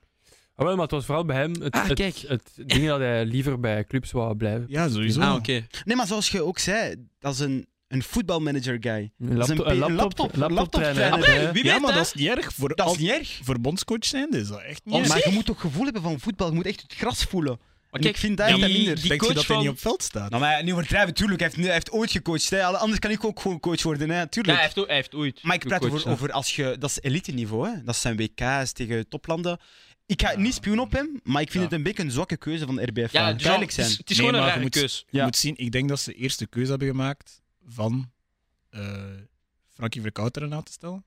Speaker 1: Ah, wel, maar het was vooral bij hem het,
Speaker 5: Ah,
Speaker 1: het,
Speaker 5: kijk.
Speaker 1: het ding dat hij liever bij clubs wou blijven.
Speaker 3: Ja, sowieso.
Speaker 5: Ah, oké.
Speaker 4: nee, maar zoals je ook zei, dat is een, een voetbalmanager guy.
Speaker 1: Een
Speaker 4: Dat is
Speaker 1: laptop,
Speaker 4: een
Speaker 1: een
Speaker 4: pe-
Speaker 1: laptop,
Speaker 4: laptop- laptoptrainer.
Speaker 1: hè.
Speaker 5: Amai, wie
Speaker 3: ja,
Speaker 5: weet,
Speaker 3: maar
Speaker 5: hè?
Speaker 3: dat is niet erg. Voor,
Speaker 4: Dat
Speaker 3: als-
Speaker 4: is niet erg.
Speaker 3: voor bondscoach zijn is dat echt niet
Speaker 5: Om-
Speaker 3: erg.
Speaker 4: Maar je moet toch gevoel hebben van voetbal. Je moet echt het gras voelen. En
Speaker 5: Maar kijk,
Speaker 4: ik vind dat
Speaker 5: die-
Speaker 4: echt minder.
Speaker 5: die
Speaker 3: Denk je
Speaker 5: coach
Speaker 3: dat hij
Speaker 5: van-
Speaker 3: niet op veld staat?
Speaker 4: Nou, maar ja, niet overdrijven, tuurlijk. Hij heeft, nu- hij heeft ooit gecoacht. Hè. Anders kan ik ook gewoon coach worden, hè.
Speaker 5: Ja,
Speaker 4: tuurlijk.
Speaker 5: hij heeft, ooit- hij heeft ooit.
Speaker 4: Maar ik praat
Speaker 5: gecoacht,
Speaker 4: over, over als je... Dat is elite-niveau, hè. Dat zijn WK's tegen toplanden. Ik ga niet spion op hem, maar ik vind
Speaker 3: Ja.
Speaker 4: het een beetje een zwakke keuze van RBF.
Speaker 5: Ja,
Speaker 4: Ja,
Speaker 5: dus
Speaker 4: duidelijk
Speaker 5: ja,
Speaker 4: zijn.
Speaker 5: Het is, het is
Speaker 3: Nee,
Speaker 5: gewoon een
Speaker 3: maar je
Speaker 5: rare
Speaker 3: moet-
Speaker 5: keus.
Speaker 4: Ja.
Speaker 3: Je moet zien, ik denk dat ze eerst de keuze hebben gemaakt van eh Frankie Verkouteren aan te stellen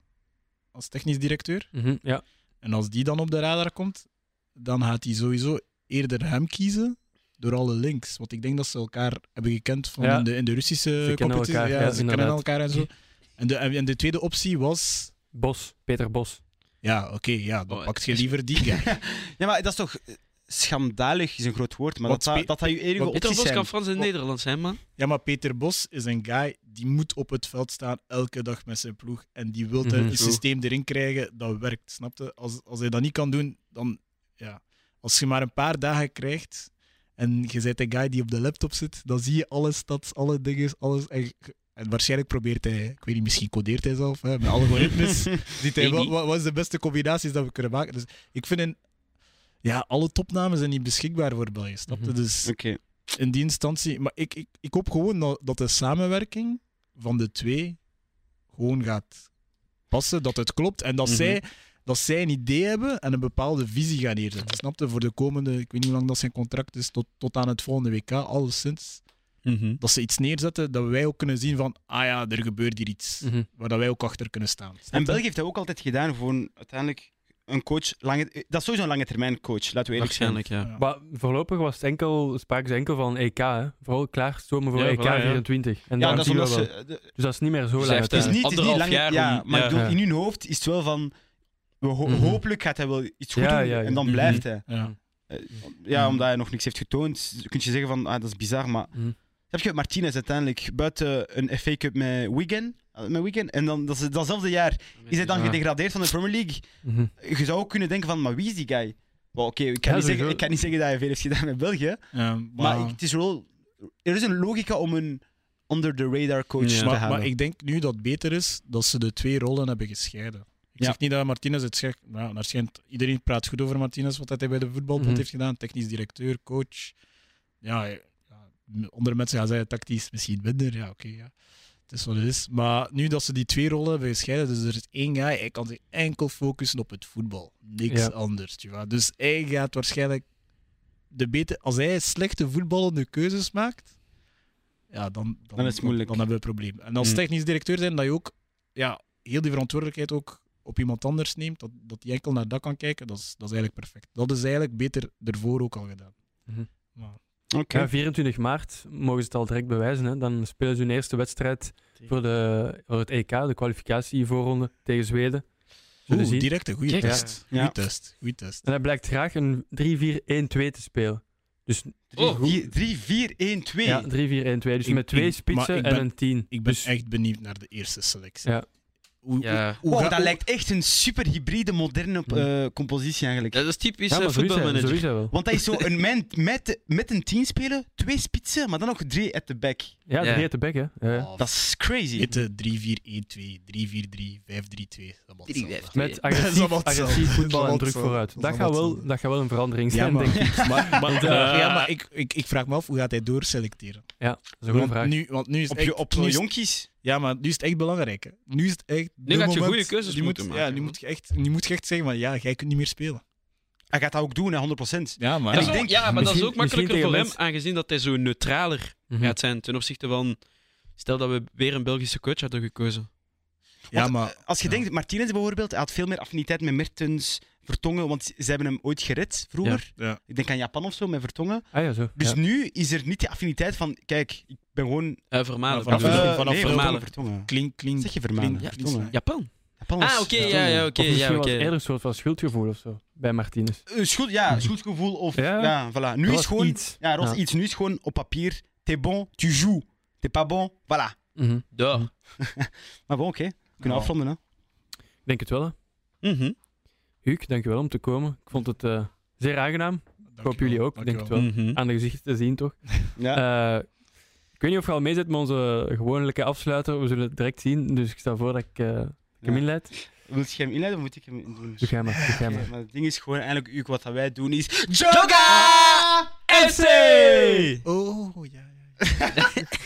Speaker 3: als technisch directeur.
Speaker 1: Mhm, Ja.
Speaker 3: En als die dan op de radar komt, dan gaat hij sowieso eerder hem kiezen door alle links. Want ik denk dat ze elkaar hebben gekend van
Speaker 1: Ja.
Speaker 3: in, de, in de Russische
Speaker 1: kennen
Speaker 3: competitie.
Speaker 1: elkaar, ja,
Speaker 3: ze
Speaker 1: inderdaad.
Speaker 3: kennen elkaar en zo. En de, en de tweede optie was
Speaker 1: Bos, Peter Bos.
Speaker 3: Ja, oké, ja, dan
Speaker 5: Oh,
Speaker 3: pakt
Speaker 5: het
Speaker 3: je
Speaker 5: is-
Speaker 3: liever die guy.
Speaker 4: Ja, maar dat is toch... eh, Schandalig is een groot woord, maar
Speaker 3: Wat
Speaker 4: dat, dat,
Speaker 3: spe-
Speaker 4: dat had je enige
Speaker 3: Wat-
Speaker 5: Peter
Speaker 4: opties
Speaker 5: Bos
Speaker 4: zijn.
Speaker 5: kan Frans en Nederlands zijn, man.
Speaker 3: Ja, maar Peter Bos is een guy die moet op het veld staan elke dag met zijn ploeg. En die wil
Speaker 1: Mhm.
Speaker 3: een systeem erin krijgen dat werkt, snapte? Als, als hij dat niet kan doen, dan ja. Als je maar een paar dagen krijgt en je bent de guy die op de laptop zit, dan zie je alle stads, alle dingen, alles. En, en waarschijnlijk probeert hij, ik weet niet, misschien codeert hij zelf hè, met algoritmes. ziet hij,
Speaker 5: Ik
Speaker 3: wat,
Speaker 5: niet.
Speaker 3: wat- wat is de beste combinaties dat we kunnen maken? Dus ik vind een, ja, alle topnamen zijn niet beschikbaar voor België, snapte?
Speaker 1: Mhm.
Speaker 3: Dus
Speaker 4: Oké.
Speaker 3: in die instantie. Maar ik, ik, ik hoop gewoon dat, dat de samenwerking van de twee gewoon gaat passen. Dat het klopt. En dat,
Speaker 5: Mhm.
Speaker 3: zij, dat zij een idee hebben en een bepaalde visie gaan neerzetten. Snap je? Voor de komende, ik weet niet hoe lang dat zijn contract is, tot, tot aan het volgende WK, alleszins.
Speaker 5: Mhm.
Speaker 3: Dat ze iets neerzetten dat wij ook kunnen zien van, ah ja, er gebeurt hier iets.
Speaker 1: Mhm.
Speaker 3: Waar dat wij ook achter kunnen staan. Snap
Speaker 4: En
Speaker 3: je?
Speaker 4: België heeft dat ook altijd gedaan, gewoon uiteindelijk een coach. Lange, eh, dat is sowieso een lange termijn coach, laten we eerlijk zijn.
Speaker 5: Waarschijnlijk, ja.
Speaker 3: Ja.
Speaker 1: Maar voorlopig was het enkel, spraken ze enkel van EK. Hè? Vooral klaarstomen voor
Speaker 5: Ja,
Speaker 1: EK
Speaker 5: voilà, ja.
Speaker 1: 24. En
Speaker 4: Ja,
Speaker 1: dan
Speaker 4: dat is
Speaker 1: zien we
Speaker 4: omdat
Speaker 1: wel.
Speaker 4: ze. de-
Speaker 1: Dus dat is niet meer zo
Speaker 5: Ze
Speaker 1: lang.
Speaker 5: heeft
Speaker 4: Het is
Speaker 5: Ja,
Speaker 1: uiteindelijk.
Speaker 4: niet, het is niet
Speaker 5: anderhalf
Speaker 4: lang.
Speaker 5: jaar
Speaker 4: ja,
Speaker 5: om-
Speaker 4: maar ik
Speaker 5: ja.
Speaker 4: bedoel, in hun hoofd is het wel van. We ho-
Speaker 1: Mhm.
Speaker 4: Hopelijk gaat hij wel iets goed
Speaker 1: Ja,
Speaker 4: doen
Speaker 1: ja, ja.
Speaker 4: en dan
Speaker 5: Mhm.
Speaker 4: blijft hij.
Speaker 3: Ja.
Speaker 4: Ja,
Speaker 3: Mhm.
Speaker 4: omdat hij nog niks heeft getoond, kun je zeggen van ah, dat is bizar, maar.
Speaker 1: Mhm.
Speaker 4: Heb je Martinez uiteindelijk buiten een FA Cup met Wigan, Eh, met Wigan en dan dat, is- datzelfde jaar is hij dan
Speaker 5: Ja.
Speaker 4: gedegradeerd van de Premier League?
Speaker 1: Mhm.
Speaker 4: Je zou ook kunnen denken van, maar wie is die guy? Wel, Oké,
Speaker 1: Ja,
Speaker 4: ik, kan niet zeggen-
Speaker 1: sowieso.
Speaker 4: ik kan niet zeggen dat hij veel heeft gedaan met België,
Speaker 3: Ja,
Speaker 4: Maar ik- het is wel... Er is een logica om een under-the-radar coach
Speaker 5: Ja.
Speaker 4: te
Speaker 3: Maar,
Speaker 4: halen.
Speaker 3: maar ik denk nu dat het beter is dat ze de twee rollen hebben gescheiden. Ik
Speaker 4: Ja.
Speaker 3: zeg niet dat Martinez het schijnt. Nou, naar schijnt- iedereen praat goed over Martinez, wat hij bij de voetbalbond
Speaker 1: Mhm.
Speaker 3: heeft gedaan. Technisch directeur, coach. Ja, ja, andere mensen gaan zeggen tactisch misschien minder. Ja, oké. ja. Het is wat het is. Maar nu dat ze die twee rollen hebben gescheiden, dus er is één guy, hij kan zich enkel focussen op het voetbal. Niks
Speaker 1: Ja.
Speaker 3: anders. je weet. Dus hij gaat waarschijnlijk de beter, als hij slechte voetballende keuzes maakt, ja, dan, dan,
Speaker 4: Dan is het moeilijk.
Speaker 3: Dan, hebben we een probleem. En als
Speaker 5: Mm.
Speaker 3: technisch directeur zijn, dat je ook ja, heel die verantwoordelijkheid ook op iemand anders neemt, dat, dat die enkel naar dat kan kijken, dat is, dat is eigenlijk perfect. Dat is eigenlijk beter ervoor ook al gedaan.
Speaker 1: Mhm.
Speaker 3: Maar,
Speaker 4: Oké.
Speaker 1: Ja, 24 maart mogen ze het al direct bewijzen. Hè? Dan spelen ze hun eerste wedstrijd voor, de, voor het EK, de kwalificatievoorronde tegen Zweden. Zullen
Speaker 3: Oeh,
Speaker 1: zien.
Speaker 3: direct een goede
Speaker 5: Kijk.
Speaker 3: test.
Speaker 4: Ja.
Speaker 3: Goeie test. Goeie test.
Speaker 1: En hij blijkt graag een 3-4-1-2 te spelen. Dus
Speaker 5: Oh,
Speaker 4: 3, 4, 1, 2.
Speaker 1: ja, 3-4-1-2. Dus
Speaker 3: Ik-
Speaker 1: met twee
Speaker 3: ik- maar
Speaker 1: spitsen
Speaker 3: ik
Speaker 1: en
Speaker 3: ben-
Speaker 1: een 10.
Speaker 3: Ik ben
Speaker 1: dus,
Speaker 3: echt benieuwd naar de eerste selectie.
Speaker 1: Ja.
Speaker 3: Hoe,
Speaker 5: Ja.
Speaker 3: hoe- hoe ga-
Speaker 4: Oh, dat
Speaker 3: hoe-
Speaker 4: lijkt echt een super hybride, moderne
Speaker 1: Hmm.
Speaker 4: eh, compositie eigenlijk.
Speaker 5: Ja, dat is typisch
Speaker 1: ja,
Speaker 5: eh,
Speaker 1: maar zo is hij, zo
Speaker 5: voetbalmanager.
Speaker 1: is hij wel.
Speaker 4: Want dat is zo een man met, met een team spelen, twee spitsen, maar dan nog drie at the back.
Speaker 1: Ja,
Speaker 5: Ja.
Speaker 1: de hete bek, hè. Ja, ja.
Speaker 3: Oh,
Speaker 4: Dat is crazy.
Speaker 3: Witte 3-4-1-2, 3-4-3, 5-3-2. Dat mag hetzelfde.
Speaker 1: Met
Speaker 3: Dat is
Speaker 1: agressief,
Speaker 3: allemaal hetzelfde.
Speaker 1: agressief
Speaker 3: Dat is
Speaker 1: voetbal en
Speaker 3: allemaal
Speaker 1: druk
Speaker 3: hetzelfde.
Speaker 1: vooruit.
Speaker 3: Dat is
Speaker 1: Dat gaat,
Speaker 3: allemaal
Speaker 1: wel,
Speaker 3: hetzelfde.
Speaker 1: dat gaat wel een verandering
Speaker 3: Ja,
Speaker 1: zijn,
Speaker 3: maar,
Speaker 1: denk ik.
Speaker 3: maar, maar,
Speaker 5: eh,
Speaker 3: ja, maar ik, ik, ik vraag me af hoe gaat hij doorselecteren?
Speaker 1: Dat is een goede
Speaker 3: Want
Speaker 1: vraag.
Speaker 3: Nu, want nu is
Speaker 4: Op,
Speaker 3: het echt,
Speaker 4: je, op
Speaker 3: nu is-
Speaker 4: jonkies.
Speaker 3: Ja, maar nu is het echt belangrijk. hè. Nu is het echt.
Speaker 5: Nu
Speaker 3: de
Speaker 5: gaat je
Speaker 3: moment-
Speaker 5: goede keuzes
Speaker 3: die
Speaker 5: moeten
Speaker 3: moet,
Speaker 5: maken,
Speaker 3: Ja, nu
Speaker 5: hoor.
Speaker 3: moet, je echt, nu moet je echt zeggen: van ja, jij kunt niet meer spelen.
Speaker 4: Hij gaat dat ook doen, hè, 100%.
Speaker 3: Ja, maar.
Speaker 5: Dat is
Speaker 4: ik
Speaker 5: ook-
Speaker 4: denk-
Speaker 5: ja, maar dat is
Speaker 1: misschien-
Speaker 5: ook makkelijker
Speaker 1: misschien
Speaker 5: voor
Speaker 1: tegen mensen-
Speaker 5: hem, aangezien dat hij zo neutraler
Speaker 1: Mhm.
Speaker 5: gaat zijn ten opzichte van... Stel dat we weer een Belgische coach hadden gekozen.
Speaker 3: ja,
Speaker 4: Want,
Speaker 3: maar.
Speaker 4: Als je
Speaker 3: Ja.
Speaker 4: denkt, Martinez bijvoorbeeld, hij had veel meer affiniteit met Mertens, Vertongen, want ze hebben hem ooit gered vroeger.
Speaker 3: Ja.
Speaker 4: Ik denk aan Japan of zo, met Vertongen.
Speaker 1: Ah ja, zo.
Speaker 4: Dus
Speaker 1: ja.
Speaker 4: nu is er niet die affiniteit van, kijk, ik ben gewoon...
Speaker 5: Eh Vermalen.
Speaker 3: Ja, vanaf-
Speaker 5: bedoel ik.
Speaker 3: eh, vanaf
Speaker 4: nee,
Speaker 5: Vermalen.
Speaker 4: Vermalen. Vertongen.
Speaker 3: Klink, klink.
Speaker 4: Zeg je Vermalen?
Speaker 3: klink-
Speaker 4: Ja,
Speaker 3: klink-
Speaker 4: Vertongen.
Speaker 5: Japan.
Speaker 4: Japan is-
Speaker 5: Ah, oké,
Speaker 4: Vertongen.
Speaker 5: ja, ja, oké.
Speaker 1: Of misschien
Speaker 5: ja,
Speaker 1: was
Speaker 5: oké.
Speaker 1: het eerder een soort van schuldgevoel of zo, bij Martinez.
Speaker 4: Eh, schuld, ja, schuldgevoel of... Ja,
Speaker 1: Ja.
Speaker 4: voilà.
Speaker 1: Er
Speaker 4: Nu is
Speaker 1: was
Speaker 4: gewoon...
Speaker 1: iets.
Speaker 4: Ja, er was
Speaker 1: Ja.
Speaker 4: iets. Nu is gewoon op papier, t'es bon, tu joues. T'es pas bon, voilà.
Speaker 1: Mhm.
Speaker 5: Ja.
Speaker 4: Maar bon, oké. We kunnen
Speaker 3: Ja.
Speaker 4: afronden, hè.
Speaker 1: Ik denk het wel, hè.
Speaker 5: Mhm.
Speaker 1: Huuk, dankjewel om te komen. Ik vond het eh, zeer aangenaam.
Speaker 3: Dank
Speaker 1: Ik
Speaker 3: je
Speaker 1: hoop jullie
Speaker 3: wel,
Speaker 1: ook,
Speaker 3: dank
Speaker 1: denk
Speaker 3: je
Speaker 1: het
Speaker 3: wel.
Speaker 1: wel.
Speaker 5: Mhm.
Speaker 1: Aan de gezichten te zien, toch?
Speaker 4: Ja.
Speaker 1: Eh, ik weet niet of je al mee zit met onze gewone afsluiter. We zullen het direct zien, dus ik stel voor dat ik, eh, ik hem
Speaker 4: Ja.
Speaker 1: inleid.
Speaker 4: Wil je hem inleiden of moet ik hem doen?
Speaker 1: Doe jij maar, doe jij
Speaker 4: Oké,
Speaker 1: maar.
Speaker 4: maar het ding is gewoon eigenlijk, Hugo, wat dat wij doen is...
Speaker 5: Joga!
Speaker 4: Joga!
Speaker 5: FC!
Speaker 3: Oh, ja, ja. ja.